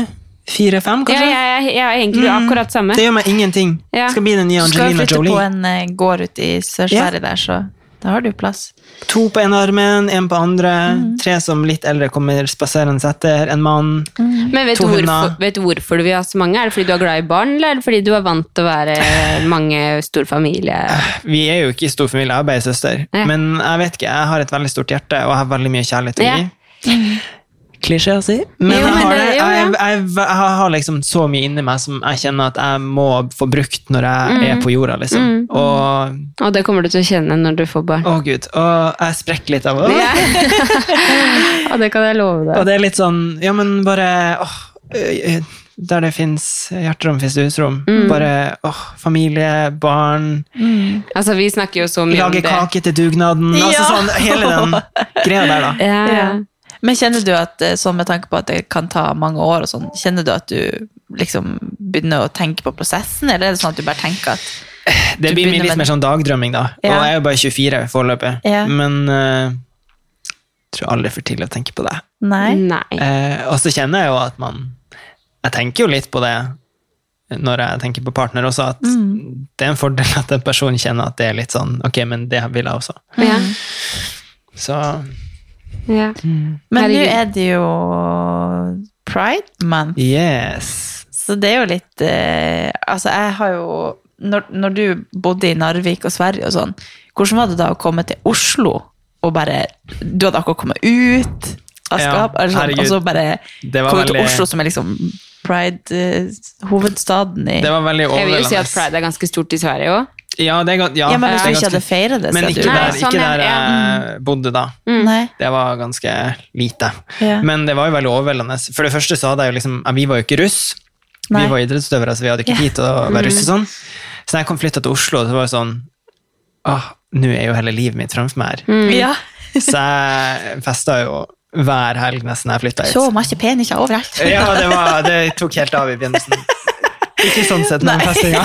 Speaker 3: Fire-fem,
Speaker 2: Ja,
Speaker 3: kanskje? Mm,
Speaker 2: jeg, jeg, jeg er egentlig akkurat samme.
Speaker 3: Det gjør meg ingenting.
Speaker 2: Ja.
Speaker 3: Skal bli den nye
Speaker 1: Skal
Speaker 3: Angelina
Speaker 1: flytte på
Speaker 3: Jolie.
Speaker 1: en eh, gård ute i Sør-Sverige der, så da har du plass.
Speaker 3: To på ene armen, én på andre. Tre som litt eldre kommer spaserende etter. En mann.
Speaker 2: Men vet
Speaker 3: To
Speaker 2: du, hvorfor,
Speaker 3: hunder.
Speaker 2: vet du hvorfor du vil ha så mange? Er det fordi du er glad i barn, eller er det fordi du er vant til å være mange stor familie?
Speaker 3: Vi er jo ikke i stor familie, jeg er bare søster.
Speaker 2: Ja.
Speaker 3: Men jeg vet ikke, jeg har et veldig stort hjerte, og jeg har veldig mye kjærlighet til
Speaker 2: Ja.
Speaker 3: dem. Klisjé å si, men,
Speaker 2: Jo,
Speaker 3: jeg,
Speaker 2: men
Speaker 3: har,
Speaker 2: det-
Speaker 3: det-
Speaker 2: jo, ja.
Speaker 3: jeg, jeg, jeg har liksom så mye inni meg som jeg kjenner at jeg må få brukt når jeg
Speaker 2: Mm.
Speaker 3: er på jorda, liksom. Og
Speaker 2: Og det kommer du til å kjenne når du får barn.
Speaker 3: Å, gud. Og jeg sprekker litt av det.
Speaker 2: Ja. Og det kan jeg love
Speaker 3: Og
Speaker 2: deg.
Speaker 3: det er litt sånn Ja, men bare åh, eh, Der det fins hjerterom, fins det husrom.
Speaker 2: Mm.
Speaker 3: Bare åh, familie, barn,
Speaker 2: Altså, vi snakker jo så mye om
Speaker 3: lage
Speaker 2: det.
Speaker 3: kake til dugnaden. Altså
Speaker 1: Ja.
Speaker 3: sånn hele den greia der, da.
Speaker 2: Ja, ja.
Speaker 1: Men kjenner du at, eh, sånn med tanke på at det kan ta mange år og sånn, kjenner du at du liksom begynner å tenke på prosessen, eller er det sånn at du bare tenker at
Speaker 3: Det
Speaker 1: Du
Speaker 3: blir
Speaker 1: begynner
Speaker 3: litt
Speaker 1: med-
Speaker 3: mer sånn dagdrømming, da. Og
Speaker 1: Ja.
Speaker 3: jeg er jo bare 24 foreløpig.
Speaker 1: Ja.
Speaker 3: Men eh, jeg tror aldri for tidlig å tenke på det.
Speaker 1: nei?
Speaker 2: Nei.
Speaker 3: Eh, og så kjenner jeg jo at man Jeg tenker jo litt på det når jeg tenker på partner også, at
Speaker 1: Mm.
Speaker 3: det er en fordel at en person kjenner at det er litt sånn Ok, men det vil jeg også.
Speaker 2: Ja,
Speaker 3: Så
Speaker 2: ja.
Speaker 1: Men nå
Speaker 2: Herregud.
Speaker 1: er det jo Pride Month.
Speaker 3: yes.
Speaker 1: Så det er jo litt eh, Altså, jeg har jo når, når du bodde i Narvik og Sverige og sånn, hvordan var det da å komme til Oslo og bare Du hadde akkurat kommet ut av
Speaker 3: Ja,
Speaker 1: skap, eller sånn,
Speaker 3: herregud.
Speaker 1: og så bare
Speaker 3: Det var
Speaker 1: komme til
Speaker 3: veldig-
Speaker 1: Oslo, som er liksom pride-hovedstaden i
Speaker 3: Det var veldig
Speaker 2: Jeg vil jo si
Speaker 3: overveldende.
Speaker 2: at pride er ganske stort i Sverige òg.
Speaker 3: ja, det er, gan- ja,
Speaker 1: Ja, men hvis
Speaker 3: det
Speaker 1: du
Speaker 3: er
Speaker 1: ikke hadde
Speaker 3: ganske-
Speaker 1: feiret det,
Speaker 3: Men
Speaker 1: så
Speaker 3: ikke
Speaker 1: hadde
Speaker 3: der,
Speaker 2: Nei, sånn
Speaker 3: ikke der
Speaker 2: er det, Mm.
Speaker 3: jeg bodde, da.
Speaker 1: du Nei.
Speaker 3: Det var ganske lite.
Speaker 1: Ja.
Speaker 3: Men det var jo veldig overveldende. For det første så hadde jeg jo liksom ja, Vi var jo ikke russ.
Speaker 1: Nei. Mm.
Speaker 3: Vi var idrettsutøvere, så vi hadde ikke tid til å være russ og sånn. Så da jeg kom flytta til Oslo, så var det sånn Åh, nå er jo hele livet mitt framfor meg her.
Speaker 2: Mm.
Speaker 1: Ja.
Speaker 3: Så jeg festa jo hver helg nesten jeg flytta
Speaker 1: Så
Speaker 3: hit.
Speaker 1: mye penisjer overalt.
Speaker 3: Ja, det, var, det tok helt av i begynnelsen. Ikke sånn sett, men festinga.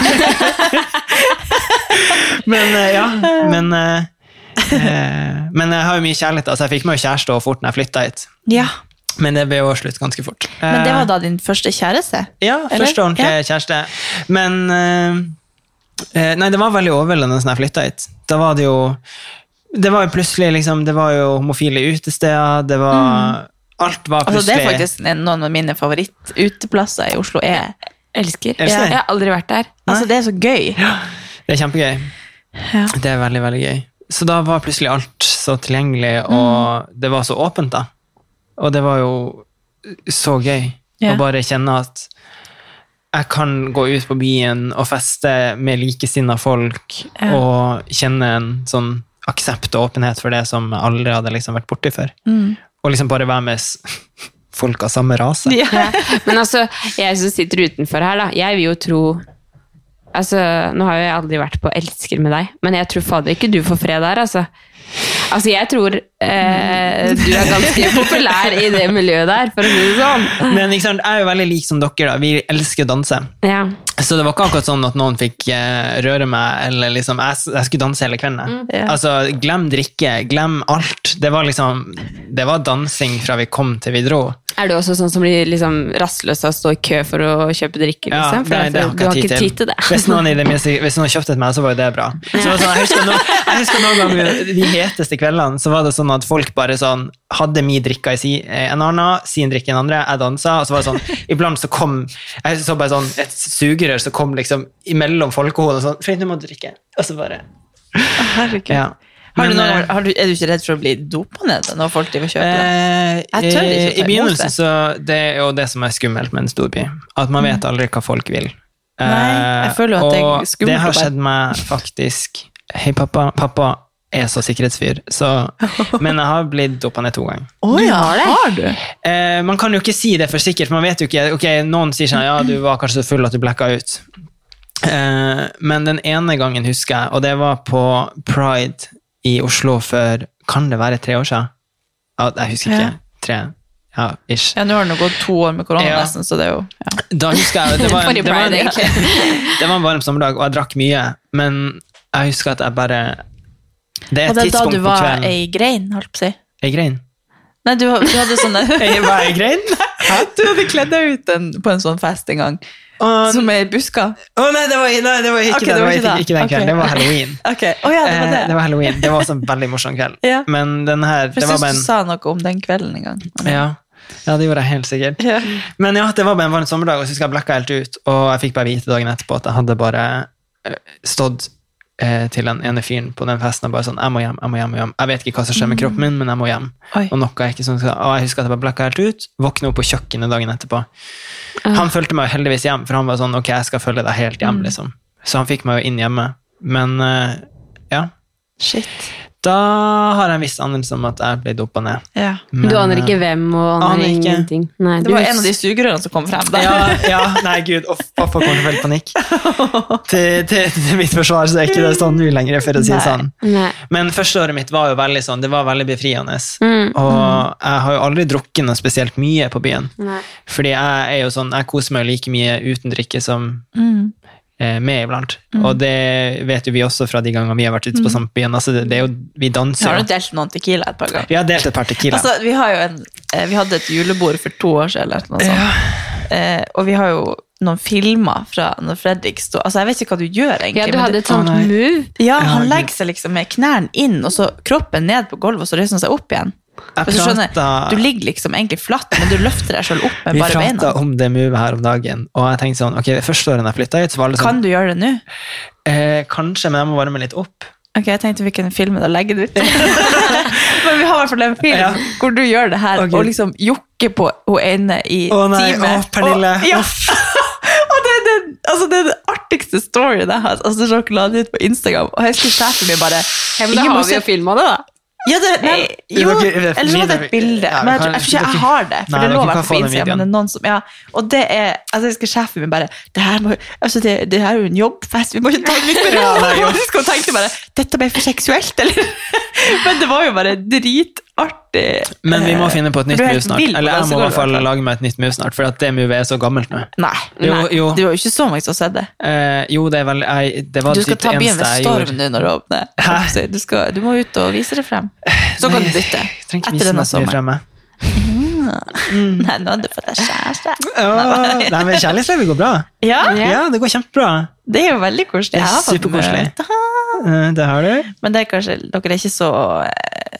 Speaker 3: men eh, ja, men eh, eh, Men jeg har jo mye kjærlighet, altså jeg fikk meg jo kjæreste også fort når jeg flytta hit.
Speaker 1: Ja.
Speaker 3: Men det ble jo slutt ganske fort.
Speaker 1: Men det
Speaker 3: Eh,
Speaker 1: var da din første kjæreste?
Speaker 3: Ja,
Speaker 1: Eller?
Speaker 3: første ordentlige
Speaker 1: Ja.
Speaker 3: kjæreste. Men eh, eh, Nei, det var veldig overveldende da jeg flytta hit. Da var det jo Det var jo plutselig liksom Det var jo homofile utesteder, det var Alt var
Speaker 1: Mm. Altså, det
Speaker 3: plutselig
Speaker 1: er faktisk en- noen av mine favorittuteplasser i Oslo. Er.
Speaker 2: Elsker.
Speaker 3: Elsker.
Speaker 2: Ja, Jeg har aldri vært der.
Speaker 1: Altså, det er så gøy.
Speaker 3: Det er kjempegøy.
Speaker 1: Ja.
Speaker 3: Det er veldig, veldig gøy. Så da var plutselig alt så tilgjengelig, og
Speaker 1: Mm.
Speaker 3: det var så åpent, da. Og det var jo så gøy
Speaker 1: Ja.
Speaker 3: å bare kjenne at jeg kan gå ut på byen og feste med likesinnede folk
Speaker 1: Ja.
Speaker 3: og kjenne en sånn aksept og åpenhet for det som jeg aldri hadde liksom vært borti før.
Speaker 1: Mm.
Speaker 3: Og liksom bare være med s- folk av samme rase.
Speaker 2: Ja. Men altså, jeg som sitter utenfor her, da, jeg vil jo tro Altså, Nå har jo jeg aldri vært på Elsker med deg, men jeg tror fader ikke du får fred der, altså. Altså, jeg tror eh, du er ganske populær i det miljøet der, for å si det sånn.
Speaker 3: Men ikke sant, jeg er jo veldig lik som dere, da. Vi elsker å danse.
Speaker 2: Ja.
Speaker 3: Så det var ikke akkurat sånn at noen fikk eh, røre meg, eller liksom Jeg, s- jeg skulle danse hele kvelden. jeg.
Speaker 1: ja.
Speaker 3: Altså, glem drikke, glem alt. Det var liksom Det var dansing fra vi kom til vi dro.
Speaker 2: Er du også sånn som blir liksom rastløs av å stå i kø for å kjøpe drikke?
Speaker 3: Ja,
Speaker 2: liksom? For
Speaker 3: nei,
Speaker 2: det er- du har ikke tid til det.
Speaker 3: Hvis noen, i det minste- hvis noen kjøpte til meg, så var jo det bra. Så det var sånn, jeg, husker noen, jeg husker noen ganger de heteste kveldene, så var det sånn at folk bare sånn hadde min drikka i si, eh, en annen, sin drikke i en andre, jeg dansa, og så var det sånn Iblant så kom jeg så bare sånn et sugerør som kom liksom imellom folkehodet og sånn Finn, du må drikke. Og så bare ja.
Speaker 1: Har du
Speaker 3: Men,
Speaker 1: noen,
Speaker 3: eh,
Speaker 1: har du, er du ikke redd for å bli dopa ned når folk driver og kjøper? det?
Speaker 3: Eh,
Speaker 1: Jeg tør ikke å ta
Speaker 3: I
Speaker 1: imot det.
Speaker 3: begynnelsen så Det er jo det som er skummelt med en storby. At man vet aldri hva folk vil. Eh,
Speaker 1: Mm. Nei, jeg føler jo at det er
Speaker 3: og
Speaker 1: skummelt
Speaker 3: det har
Speaker 1: å bare-
Speaker 3: skjedd meg faktisk Hei, pappa. Pappa er så sikkerhetsfyr, så Men jeg har blitt dopa ned to ganger.
Speaker 1: Å ja, har du?
Speaker 3: Eh, man kan jo ikke si det for sikkert, for man vet jo ikke Ok, Noen sier sånn Ja, du var kanskje så full at du blacka ut. Eh, men den ene gangen husker jeg, og det var på Pride i Oslo for Kan det være tre år siden? Ja, jeg husker ikke.
Speaker 1: Ja.
Speaker 3: Tre. Ja, ish.
Speaker 1: Ja, nå har det nå gått to år med korona
Speaker 3: Ja.
Speaker 1: nesten, så det er jo ja.
Speaker 3: Da husker jeg Det var en,
Speaker 2: Forrige
Speaker 3: det var en,
Speaker 2: Pride,
Speaker 3: det var en varm sommerdag, og jeg drakk mye, men jeg husker at jeg bare
Speaker 1: Og
Speaker 3: Det er et
Speaker 1: det er da
Speaker 3: tidspunkt
Speaker 1: du
Speaker 3: på
Speaker 1: var
Speaker 3: kvelden
Speaker 1: ei grein, holdt på å si.
Speaker 3: Jeg grein.
Speaker 1: Nei, du, du hadde sånn
Speaker 3: Jeg var ei grein?
Speaker 1: Du hadde kledd deg ut en, på en sånn fest en gang,
Speaker 3: Å
Speaker 1: som er i busker.
Speaker 3: å nei, det var, nei, det var ikke,
Speaker 1: Ok,
Speaker 3: det,
Speaker 1: det var
Speaker 3: var
Speaker 1: ikke
Speaker 3: ikke,
Speaker 1: det.
Speaker 3: ikke den
Speaker 1: Ok.
Speaker 3: kvelden. Det var halloween.
Speaker 1: Ok, Å ja, det var det.
Speaker 3: Eh, det var halloween. Det var også en veldig morsom kveld.
Speaker 1: Ja.
Speaker 3: Men den her
Speaker 1: For
Speaker 3: det
Speaker 1: jeg syns
Speaker 3: var bare
Speaker 1: du
Speaker 3: en,
Speaker 1: sa noe om den kvelden en gang.
Speaker 3: ja. ja, det gjorde jeg helt sikkert.
Speaker 1: Ja.
Speaker 3: Men ja, det var bare en varm sommerdag, og så husker jeg blacka helt ut. Og jeg fikk bare vite dagen etterpå at jeg hadde bare eh, stått eh, til den ene fyren på den festen og bare sånn Jeg må hjem, jeg må hjem. Jeg, må hjem. jeg vet ikke hva som skjer med kroppen min, men jeg må hjem.
Speaker 1: Mm. Oi.
Speaker 3: Og noe jeg ikke sånn skal Og jeg husker at jeg bare blacka helt ut. Våkna opp på kjøkkenet dagen etterpå.
Speaker 1: Ah.
Speaker 3: Han fulgte meg jo heldigvis hjem, for han var sånn Ok, jeg skal følge deg helt
Speaker 1: Mm.
Speaker 3: hjem, liksom. Så han fikk meg jo inn hjemme. Men eh, ja.
Speaker 1: Shit.
Speaker 3: Da har jeg en viss anelse om at jeg ble dopa ned.
Speaker 1: Ja.
Speaker 3: Men,
Speaker 2: du aner
Speaker 3: eh,
Speaker 2: ikke hvem og aner,
Speaker 3: aner ikke.
Speaker 2: ingenting. Nei,
Speaker 1: Det
Speaker 2: du
Speaker 1: var
Speaker 2: husker-
Speaker 1: en av de sugerørene som kom frem. Da.
Speaker 3: ja, ja, nei, gud, off, pappa kommer til å få panikk. Til, til, til mitt forsvar så er ikke det sånn nå lenger, for å si det
Speaker 1: Nei.
Speaker 3: sånn.
Speaker 2: Nei.
Speaker 3: Men første året mitt var jo veldig sånn, det var veldig befriende.
Speaker 2: Mm.
Speaker 3: Og jeg har jo aldri drukket noe spesielt mye på byen.
Speaker 2: Nei.
Speaker 3: Fordi jeg er jo sånn, jeg koser meg jo like mye uten drikke som
Speaker 2: Mm.
Speaker 3: eh, med iblant. Og det vet jo vi også fra de gangene vi har vært ute på
Speaker 2: Mm.
Speaker 3: samme byen. Altså, det, det er jo, vi
Speaker 1: Jeg har
Speaker 3: danser
Speaker 1: jo
Speaker 3: jo.
Speaker 1: delt noen Tequila et par ganger.
Speaker 3: Vi har delt et par tequila.
Speaker 1: Altså, vi, har jo en, eh, vi hadde et julebord for to år siden, eller noe sånt. Eh, og vi har jo noen filmer fra når Fredrik sto Altså, jeg vet ikke hva du gjør, egentlig.
Speaker 2: Ja, du
Speaker 1: men
Speaker 2: hadde
Speaker 1: det-
Speaker 2: et sånt
Speaker 3: Å, nei.
Speaker 2: move.
Speaker 1: ja, han
Speaker 3: Herregud.
Speaker 1: legger seg liksom med knærne inn, og så kroppen ned på gulvet, og så reiser han seg opp igjen.
Speaker 3: Jeg
Speaker 1: Hvis du skjønner,
Speaker 3: pratet-
Speaker 1: du ligger liksom egentlig flatt, men du løfter deg selv opp med
Speaker 3: Vi
Speaker 1: bare
Speaker 3: prata
Speaker 1: beina.
Speaker 3: om det movet her om dagen, og jeg tenkte sånn, ok, det første året jeg flytta hit, så var det sånn
Speaker 1: Kan du gjøre det nå?
Speaker 3: Eh, kanskje, men jeg må varme litt opp.
Speaker 1: Ok, jeg tenkte vi kunne filme det og legge det ut. Men vi har i hvert fall en film
Speaker 3: Ja.
Speaker 1: hvor du gjør det her
Speaker 3: Å, Gud.
Speaker 1: og liksom jokker på hun ene i
Speaker 3: Å, nei.
Speaker 1: time.
Speaker 3: Å, Pernille.
Speaker 1: Og, ja. og det, er den- altså, det er den artigste storyen jeg har. Altså, som dere la det ut på Instagram. Og jeg husker sjefen min bare
Speaker 2: Ja, men da
Speaker 1: «Ingen må
Speaker 2: har vi
Speaker 1: se-
Speaker 2: jo filma det, da.
Speaker 1: ja, det, nei, jo,
Speaker 3: Dere- dere-
Speaker 1: eller så var det et bilde.
Speaker 3: Ja,
Speaker 1: Men jeg,
Speaker 3: kan-
Speaker 1: tror- jeg tror ikke
Speaker 3: dere-
Speaker 1: jeg har det. For
Speaker 3: Nei,
Speaker 1: det lå i
Speaker 3: dere kan
Speaker 1: hvert fall
Speaker 3: få
Speaker 1: på
Speaker 3: den
Speaker 1: Instagram.
Speaker 3: videoen.
Speaker 1: Men det er noen som, ja, og det er altså, Jeg skal sjefen min bare det her, må, altså, det, det her er jo en jobbfest, vi må ikke ta den litt med
Speaker 3: Ja, nei, jo.
Speaker 1: ro. Og så tenkte jeg bare Dette ble for seksuelt, eller? Men det var jo bare dritartig.
Speaker 3: Men vi må finne på et nytt
Speaker 1: Eh, For du er
Speaker 3: move
Speaker 1: helt
Speaker 3: snart.
Speaker 1: vill på
Speaker 3: Eller jeg må i hvert
Speaker 1: dansegulvet,
Speaker 3: fall
Speaker 1: i hvert fall.
Speaker 3: lage meg et nytt move snart, for at det movet er så gammelt nå.
Speaker 1: Nei.
Speaker 3: Jo,
Speaker 1: nei.
Speaker 3: jo.
Speaker 1: Det var jo ikke så mange som har sett det.
Speaker 3: Eh, jo, det er vel jeg, Det var
Speaker 1: Du skal
Speaker 3: typ
Speaker 1: ta
Speaker 3: det
Speaker 1: byen
Speaker 3: eneste
Speaker 1: ved
Speaker 3: jeg
Speaker 1: storm
Speaker 3: gjorde.
Speaker 1: nå når det åpner.
Speaker 3: Hæ?
Speaker 1: Du, skal, du må ut og vise det frem. Så kan du bytte.
Speaker 3: Jeg trenger
Speaker 1: Etter
Speaker 3: ikke vise
Speaker 1: denne
Speaker 3: meg så mye
Speaker 1: sommeren.
Speaker 3: fremme.
Speaker 1: Nei, nå har du fått deg kjæreste.
Speaker 3: Åh, Nei, men kjærlighetslivet går bra.
Speaker 1: Ja,
Speaker 3: Ja, det går kjempebra.
Speaker 1: det er jo veldig koselig.
Speaker 3: Det
Speaker 1: Jeg
Speaker 3: er
Speaker 1: har fått
Speaker 3: superkoselig.
Speaker 1: møte-
Speaker 3: Eh, Det har du.
Speaker 1: Men det er kanskje, dere er ikke så eh,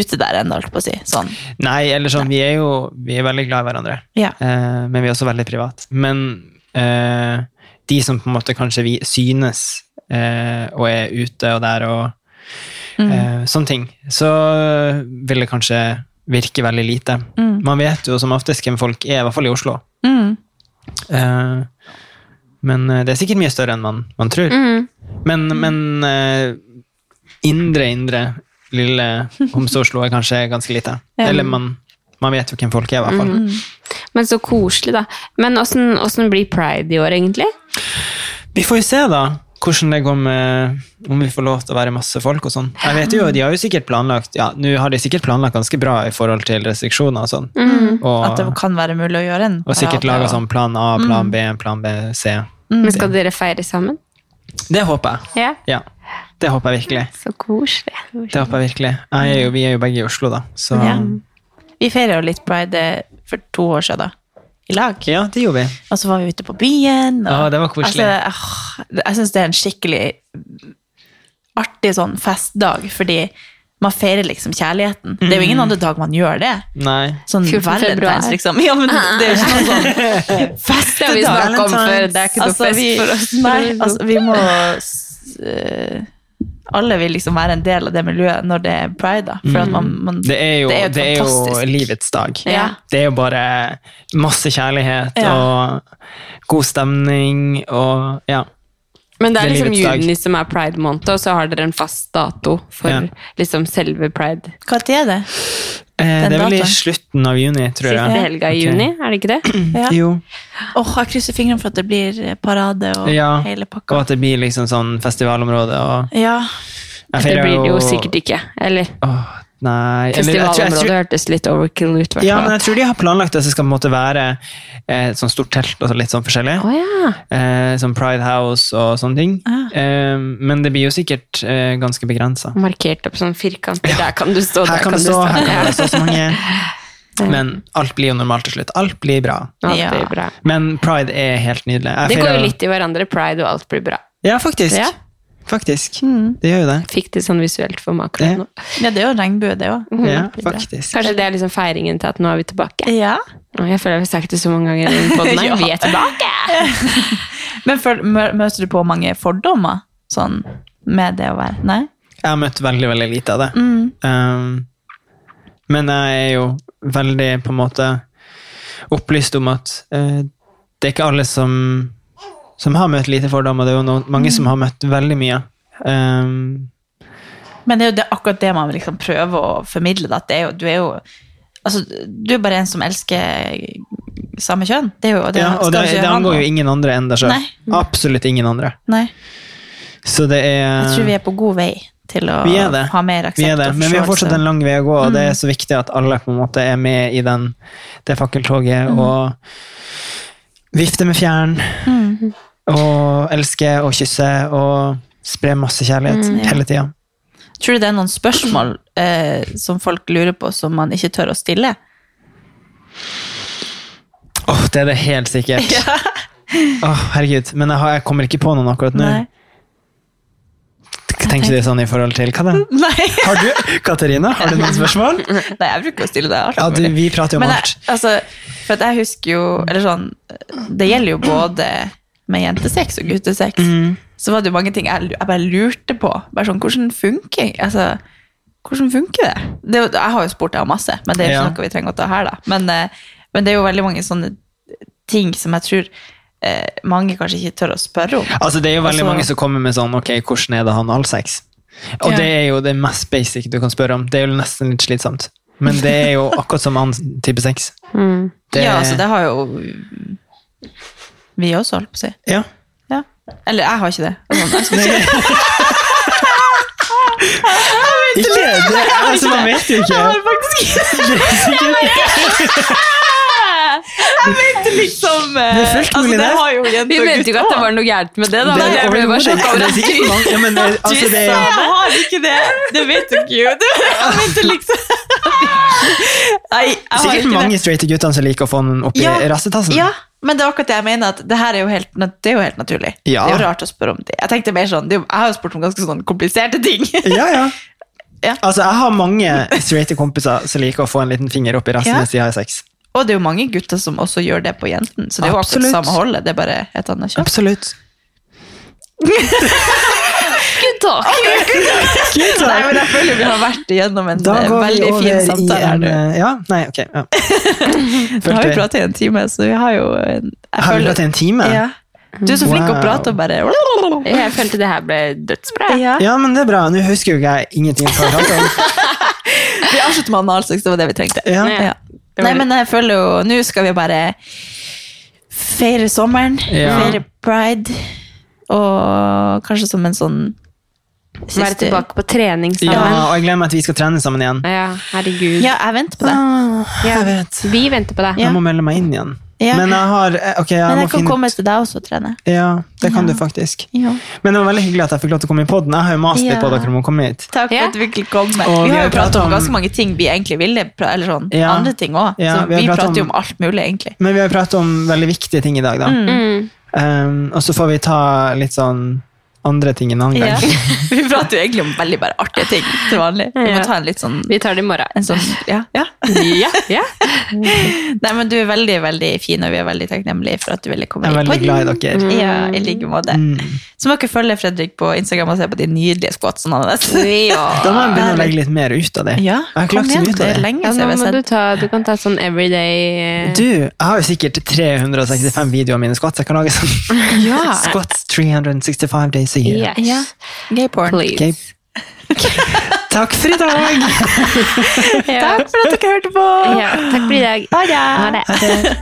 Speaker 1: ute der ennå, holdt på å si. Sånn.
Speaker 3: Nei, eller sånn, vi er jo vi er veldig glad i hverandre.
Speaker 1: Ja.
Speaker 3: Eh, men vi er også veldig private. Men eh, de som på en måte kanskje vi synes eh, og er ute og der og eh, sånne ting, så vil det kanskje virke veldig lite. Man vet jo som oftest hvem folk er, i hvert fall i Oslo.
Speaker 1: Mm.
Speaker 3: Eh, men eh, det er sikkert mye større enn man, man tror. Men, men eh, indre, indre lille Homse-Oslo er kanskje ganske lite. Eller man, man vet jo hvem folk er, i hvert fall.
Speaker 2: Men så koselig, da. Men åssen åssen blir pride i år, egentlig?
Speaker 3: Vi får jo se da hvordan det går med om vi får lov til å være masse folk og sånn. Jeg vet jo, De har jo sikkert planlagt ja, nå har de sikkert planlagt ganske bra i forhold til restriksjoner og sånn.
Speaker 1: At det Mm.
Speaker 3: Og,
Speaker 1: kan være mulig å gjøre en.
Speaker 3: og sikkert
Speaker 1: parade,
Speaker 3: laga
Speaker 1: og-
Speaker 3: sånn plan A, plan B, plan B, C.
Speaker 2: Men skal dere feire sammen?
Speaker 3: Det håper jeg.
Speaker 2: Ja.
Speaker 3: Ja, det håper jeg virkelig.
Speaker 2: Så koselig.
Speaker 3: Det håper jeg virkelig. Jeg er jo, vi er jo begge i Oslo, da. Så
Speaker 1: Ja. Vi feirer jo litt pride eh, for to år siden, da. I lag.
Speaker 3: ja, det gjorde vi.
Speaker 1: Og så var vi ute på byen. Og,
Speaker 3: Ja, det var koselig.
Speaker 1: Altså, ah, jeg syns det er en skikkelig artig sånn festdag, fordi man feirer liksom kjærligheten. Det er jo
Speaker 3: Mm.
Speaker 1: ingen andre dag man gjør det.
Speaker 3: Nei.
Speaker 1: Sånn
Speaker 2: 14. februar.
Speaker 1: valentines, liksom. Ja, men det er jo ikke noe sånn festdag.
Speaker 2: Det har vi snakket om før. Det er ikke noe
Speaker 1: Altså,
Speaker 2: fest
Speaker 1: vi,
Speaker 2: for oss.
Speaker 1: nei, altså, vi må s- eh, Alle vil liksom være en del av det miljøet når det er pride, da. For at man, man,
Speaker 3: Mm. Det er jo, det er jo
Speaker 1: fantastisk.
Speaker 3: livets dag.
Speaker 1: Ja.
Speaker 3: Det er jo bare masse kjærlighet
Speaker 1: Ja.
Speaker 3: og god stemning og ja.
Speaker 2: Men det
Speaker 3: Det
Speaker 2: er
Speaker 3: er
Speaker 2: liksom
Speaker 3: livets dag.
Speaker 2: juni som er pride-måned, og så har dere en fast dato for
Speaker 3: Ja.
Speaker 2: liksom selve pride.
Speaker 1: Hva tid er det?
Speaker 3: Eh, det er vel i
Speaker 1: datoen.
Speaker 3: slutten av juni, tror jeg.
Speaker 2: Siste helga i
Speaker 3: Ok.
Speaker 2: juni, er det ikke det?
Speaker 1: Ja.
Speaker 3: Jo.
Speaker 1: Åh, jeg krysser fingrene for at det blir eh, parade og
Speaker 3: Ja.
Speaker 1: hele pakka.
Speaker 3: Og at det blir liksom sånn festivalområde og
Speaker 1: Ja.
Speaker 3: Jeg
Speaker 2: Det
Speaker 3: feirer
Speaker 2: blir det jo sikkert ikke. Eller
Speaker 3: Åh, nei Eller, jeg tror- jeg tror-
Speaker 2: festivalområdet hørtes litt overkill ut,
Speaker 3: Ja, men
Speaker 2: hvertfall.
Speaker 3: jeg tror de har planlagt at det skal på en måte være eh, et sånt stort telt og så litt sånn forskjellig.
Speaker 2: Å ja. Ah.
Speaker 3: Eh, som Pride House og sånne ting. Eh, men det blir jo sikkert eh, ganske begrensa.
Speaker 2: Markert opp sånn firkanter. Der kan du stå,
Speaker 3: Her
Speaker 2: der
Speaker 3: kan
Speaker 2: kan
Speaker 3: det
Speaker 2: du
Speaker 3: stå,
Speaker 2: stå.
Speaker 3: her kan
Speaker 2: Ja.
Speaker 3: det stå så mange. Men alt blir jo normalt til slutt. Alt blir bra.
Speaker 2: Alt blir
Speaker 1: Ja.
Speaker 2: bra.
Speaker 3: Men pride er helt nydelig. Jeg
Speaker 2: Det går
Speaker 3: feirer-
Speaker 2: jo litt i hverandre. Pride og alt blir bra.
Speaker 3: Ja, faktisk.
Speaker 2: Ja. Mm.
Speaker 3: Faktisk. Det gjør jo det.
Speaker 2: Fikk det sånn visuelt for meg
Speaker 3: Ja.
Speaker 2: akkurat nå.
Speaker 1: ja, det er jo regnbue, det òg.
Speaker 3: Ja,
Speaker 2: blir bra.
Speaker 3: faktisk.
Speaker 2: Kanskje det er liksom feiringen til at nå er vi tilbake.
Speaker 1: Ja.
Speaker 2: Å, Jeg føler jeg har sagt det så mange ganger i denne podden her.
Speaker 1: Ja.
Speaker 2: Vi er tilbake!
Speaker 1: Men for, mø- møter du på mange fordommer sånn, med det å være Nei?
Speaker 3: Jeg har møtt veldig, veldig lite av det.
Speaker 1: Mhm.
Speaker 3: Um, men jeg er jo veldig på en måte opplyst om at eh, det er ikke alle som, som har møtt lite fordommer. Det er jo noen, mange
Speaker 1: Mhm.
Speaker 3: som har møtt veldig mye. Um,
Speaker 1: Men det er jo det, akkurat det man liksom prøver å formidle. da, At det er jo, du er jo altså, du er bare en som elsker samme kjønn. Det er jo det,
Speaker 3: ja, og
Speaker 1: skal
Speaker 3: det,
Speaker 1: ikke
Speaker 3: det
Speaker 1: ha noe.
Speaker 3: angår jo ingen andre enn deg sjøl.
Speaker 1: Nei.
Speaker 3: Absolutt ingen andre.
Speaker 1: Nei,
Speaker 3: Så det er
Speaker 1: jeg tror vi er på god vei til å
Speaker 3: Eh, Vi er det.
Speaker 1: ha mer aksept
Speaker 3: Vi er det.
Speaker 1: og
Speaker 3: Men vi har
Speaker 1: forståelse. Mm.
Speaker 3: fortsatt en lang vei å gå, og det er så viktig at alle på en måte er med i den, det fakkeltoget
Speaker 1: Mm.
Speaker 3: og vifter med fjæren
Speaker 1: Mm.
Speaker 3: og elsker og kysser og sprer masse kjærlighet
Speaker 1: Mm,
Speaker 3: hele tida.
Speaker 1: Tror du det er noen spørsmål eh, som folk lurer på, som man ikke tør å stille?
Speaker 3: Åh, det er det helt sikkert. Åh, herregud. Men jeg, har, jeg kommer ikke på noen akkurat nå.
Speaker 1: Nei.
Speaker 3: Tenker du sånn i forhold til hva da?
Speaker 1: Nei.
Speaker 3: Har du, Katarina, har du noen spørsmål?
Speaker 1: Nei, jeg bruker å stille deg alt.
Speaker 3: Ja, du, vi prater jo om
Speaker 1: Men
Speaker 3: alt.
Speaker 1: jeg, altså, for at jeg husker jo Eller sånn, det gjelder jo både med jentesex og guttesex. Så var det jo mange ting jeg, jeg bare lurte på. Bare sånn, hvordan funker altså, hvordan funker det? det? er jo- Jeg har jo spurt deg om masse, men det er jo ikke
Speaker 3: Ja.
Speaker 1: noe vi trenger å ta her. da. Men, eh, men det er jo veldig mange sånne ting som jeg tror eh, mange kanskje ikke tør å spørre om.
Speaker 3: Altså, det er jo veldig
Speaker 1: Altså-
Speaker 3: mange som kommer med sånn Ok, hvordan er det å ha analsex? Og
Speaker 1: Ja.
Speaker 3: det er jo det mest basic du kan spørre om. Det er jo nesten litt slitsomt. Men det er jo akkurat som annen type sex.
Speaker 2: Mm.
Speaker 3: Det,
Speaker 1: Ja, altså, det har jo vi også, holdt på å si.
Speaker 3: ja.
Speaker 1: Ja. Eller jeg har ikke det. Altså, jeg
Speaker 3: Ikke det! Altså, man vet jo ikke.
Speaker 1: har faktisk
Speaker 3: Det er sikkert-
Speaker 1: liksom eh,
Speaker 3: Det er fullt mulig,
Speaker 1: altså, det.
Speaker 3: det.
Speaker 1: har jo
Speaker 2: Vi
Speaker 1: jenter og
Speaker 2: mente jo ikke at det var noe gærent med det, da. men jeg ble bare
Speaker 3: overhodet
Speaker 2: sjokka
Speaker 3: ikke.
Speaker 2: over
Speaker 3: Det
Speaker 2: at
Speaker 3: er sikkert mange- ja, men, eh, altså, det er-
Speaker 1: Jeg har ikke det! Det vet du ikke, jo. Du- Jeg mente liksom Nei, jeg
Speaker 3: Det er
Speaker 1: har
Speaker 3: sikkert
Speaker 1: ikke vært-
Speaker 3: mange altså. straighte gutter som liker å få den opp i
Speaker 1: Ja.
Speaker 3: rassetassen.
Speaker 1: Ja, men det er akkurat det jeg mener. at Det her er jo helt, nat- det er jo helt naturlig.
Speaker 3: Ja.
Speaker 1: Det er jo rart å spørre om det. Jeg tenkte mer sånn, det er jo, jeg har jo spurt om ganske sånn kompliserte ting.
Speaker 3: Ja, ja.
Speaker 1: Ja.
Speaker 3: Altså, jeg har mange straighte kompiser som liker å få en liten finger opp i rassen
Speaker 1: Ja.
Speaker 3: mens de har sex.
Speaker 1: Og det er jo mange gutter som også gjør det på jentene, så det er jo akkurat
Speaker 3: Absolutt.
Speaker 1: samme holdet. Det er bare et annet kjønn.
Speaker 3: Absolutt.
Speaker 2: Good talk!
Speaker 1: Nei, men jeg føler vi har vært igjennom en
Speaker 3: Da
Speaker 1: eh,
Speaker 3: går vi
Speaker 1: veldig fin
Speaker 3: over i
Speaker 1: samtale her
Speaker 3: en
Speaker 1: nå.
Speaker 3: eh, Ja, nei, ok. Ja.
Speaker 1: Nå har vi
Speaker 3: Følte-
Speaker 1: pratet i en time, så vi har jo en, jeg
Speaker 3: Har vi
Speaker 1: føler-
Speaker 3: pratet i en time?
Speaker 1: Ja.
Speaker 2: Mm.
Speaker 1: Du er så flink å
Speaker 3: Wow.
Speaker 1: prate og bare
Speaker 2: Jeg følte det her ble dødsbra. jeg.
Speaker 1: ja.
Speaker 3: Ja, men det er bra. Nå husker jo ikke jeg ingenting. fra praten.
Speaker 1: Vi avslutter med analsex, det var det vi trengte.
Speaker 3: Ja.
Speaker 1: Ja.
Speaker 2: Det var-
Speaker 1: Nei, men jeg føler jo Nå skal vi bare feire sommeren,
Speaker 3: Ja.
Speaker 1: feire pride, og kanskje som en sånn siste
Speaker 2: Være tilbake på trening sammen.
Speaker 3: Ja, og jeg glemmer at vi skal trene sammen igjen.
Speaker 2: Ja, herregud.
Speaker 1: Ja, jeg venter på det.
Speaker 3: Ah,
Speaker 2: Ja.
Speaker 3: Jeg vet.
Speaker 2: Vi venter på deg.
Speaker 1: Ja.
Speaker 3: Jeg må melde meg inn igjen.
Speaker 1: Ja.
Speaker 3: Men jeg har eh, Ok, jeg
Speaker 1: Men
Speaker 3: må
Speaker 1: jeg kan
Speaker 3: finne
Speaker 1: komme til deg også og trene.
Speaker 3: Ja, det kan du faktisk.
Speaker 1: Ja.
Speaker 3: Men det var veldig hyggelig at jeg fikk lov til å komme i podden. Jeg har jo mast litt
Speaker 1: Ja.
Speaker 3: på dere om å komme hit.
Speaker 1: Takk for
Speaker 2: Ja.
Speaker 1: at du ville komme.
Speaker 3: Og
Speaker 1: Vi har jo pratet om ganske mange ting vi egentlig ville, pra- eller sånn
Speaker 3: Ja.
Speaker 1: andre ting òg.
Speaker 3: Ja,
Speaker 1: så vi,
Speaker 3: vi har pratet
Speaker 1: prater jo
Speaker 3: om-
Speaker 1: om alt mulig, egentlig.
Speaker 3: Men vi har pratet om veldig viktige ting i dag, da.
Speaker 1: Mm.
Speaker 2: Mm.
Speaker 3: Um, og så får vi ta litt sånn andre ting en annen
Speaker 1: Ja.
Speaker 3: gang.
Speaker 1: Vi prater jo egentlig om veldig bare artige ting til vanlig. Vi må
Speaker 2: Ja.
Speaker 1: ta en litt sånn,
Speaker 2: Vi tar det i morgen.
Speaker 1: en sånn ja. ja.
Speaker 2: Ja, ja.
Speaker 1: Nei, men du er veldig, veldig fin, og vi er veldig takknemlige for at du ville komme
Speaker 3: Jeg er veldig glad i dere.
Speaker 1: Ja, i like måte. Så må dere følge Fredrik på Instagram og se på de nydelige squatsene hans.
Speaker 3: Da må jeg begynne å legge litt mer ut av det.
Speaker 1: Ja,
Speaker 3: jeg har ikke
Speaker 1: kom
Speaker 3: lagt så
Speaker 1: igjen,
Speaker 3: mye ut
Speaker 1: det
Speaker 3: av
Speaker 1: er
Speaker 3: det.
Speaker 1: lenge
Speaker 2: Ja, nå
Speaker 1: siden vi
Speaker 2: må
Speaker 1: har
Speaker 2: du,
Speaker 1: sett.
Speaker 2: ta, du kan ta sånn everyday eh,
Speaker 3: Du, jeg har jo sikkert 365 videoer av mine squats. Jeg kan lage sånn
Speaker 1: Ja.
Speaker 3: Squats 365 days a year.
Speaker 2: eh, Yes.
Speaker 1: Ja. Gay porn.
Speaker 2: Please.
Speaker 3: Takk for i dag!
Speaker 2: Ja.
Speaker 1: Takk for at dere hørte på!
Speaker 2: ja. Takk for i dag.
Speaker 1: Ha det!
Speaker 2: Ha det.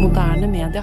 Speaker 2: Moderne media.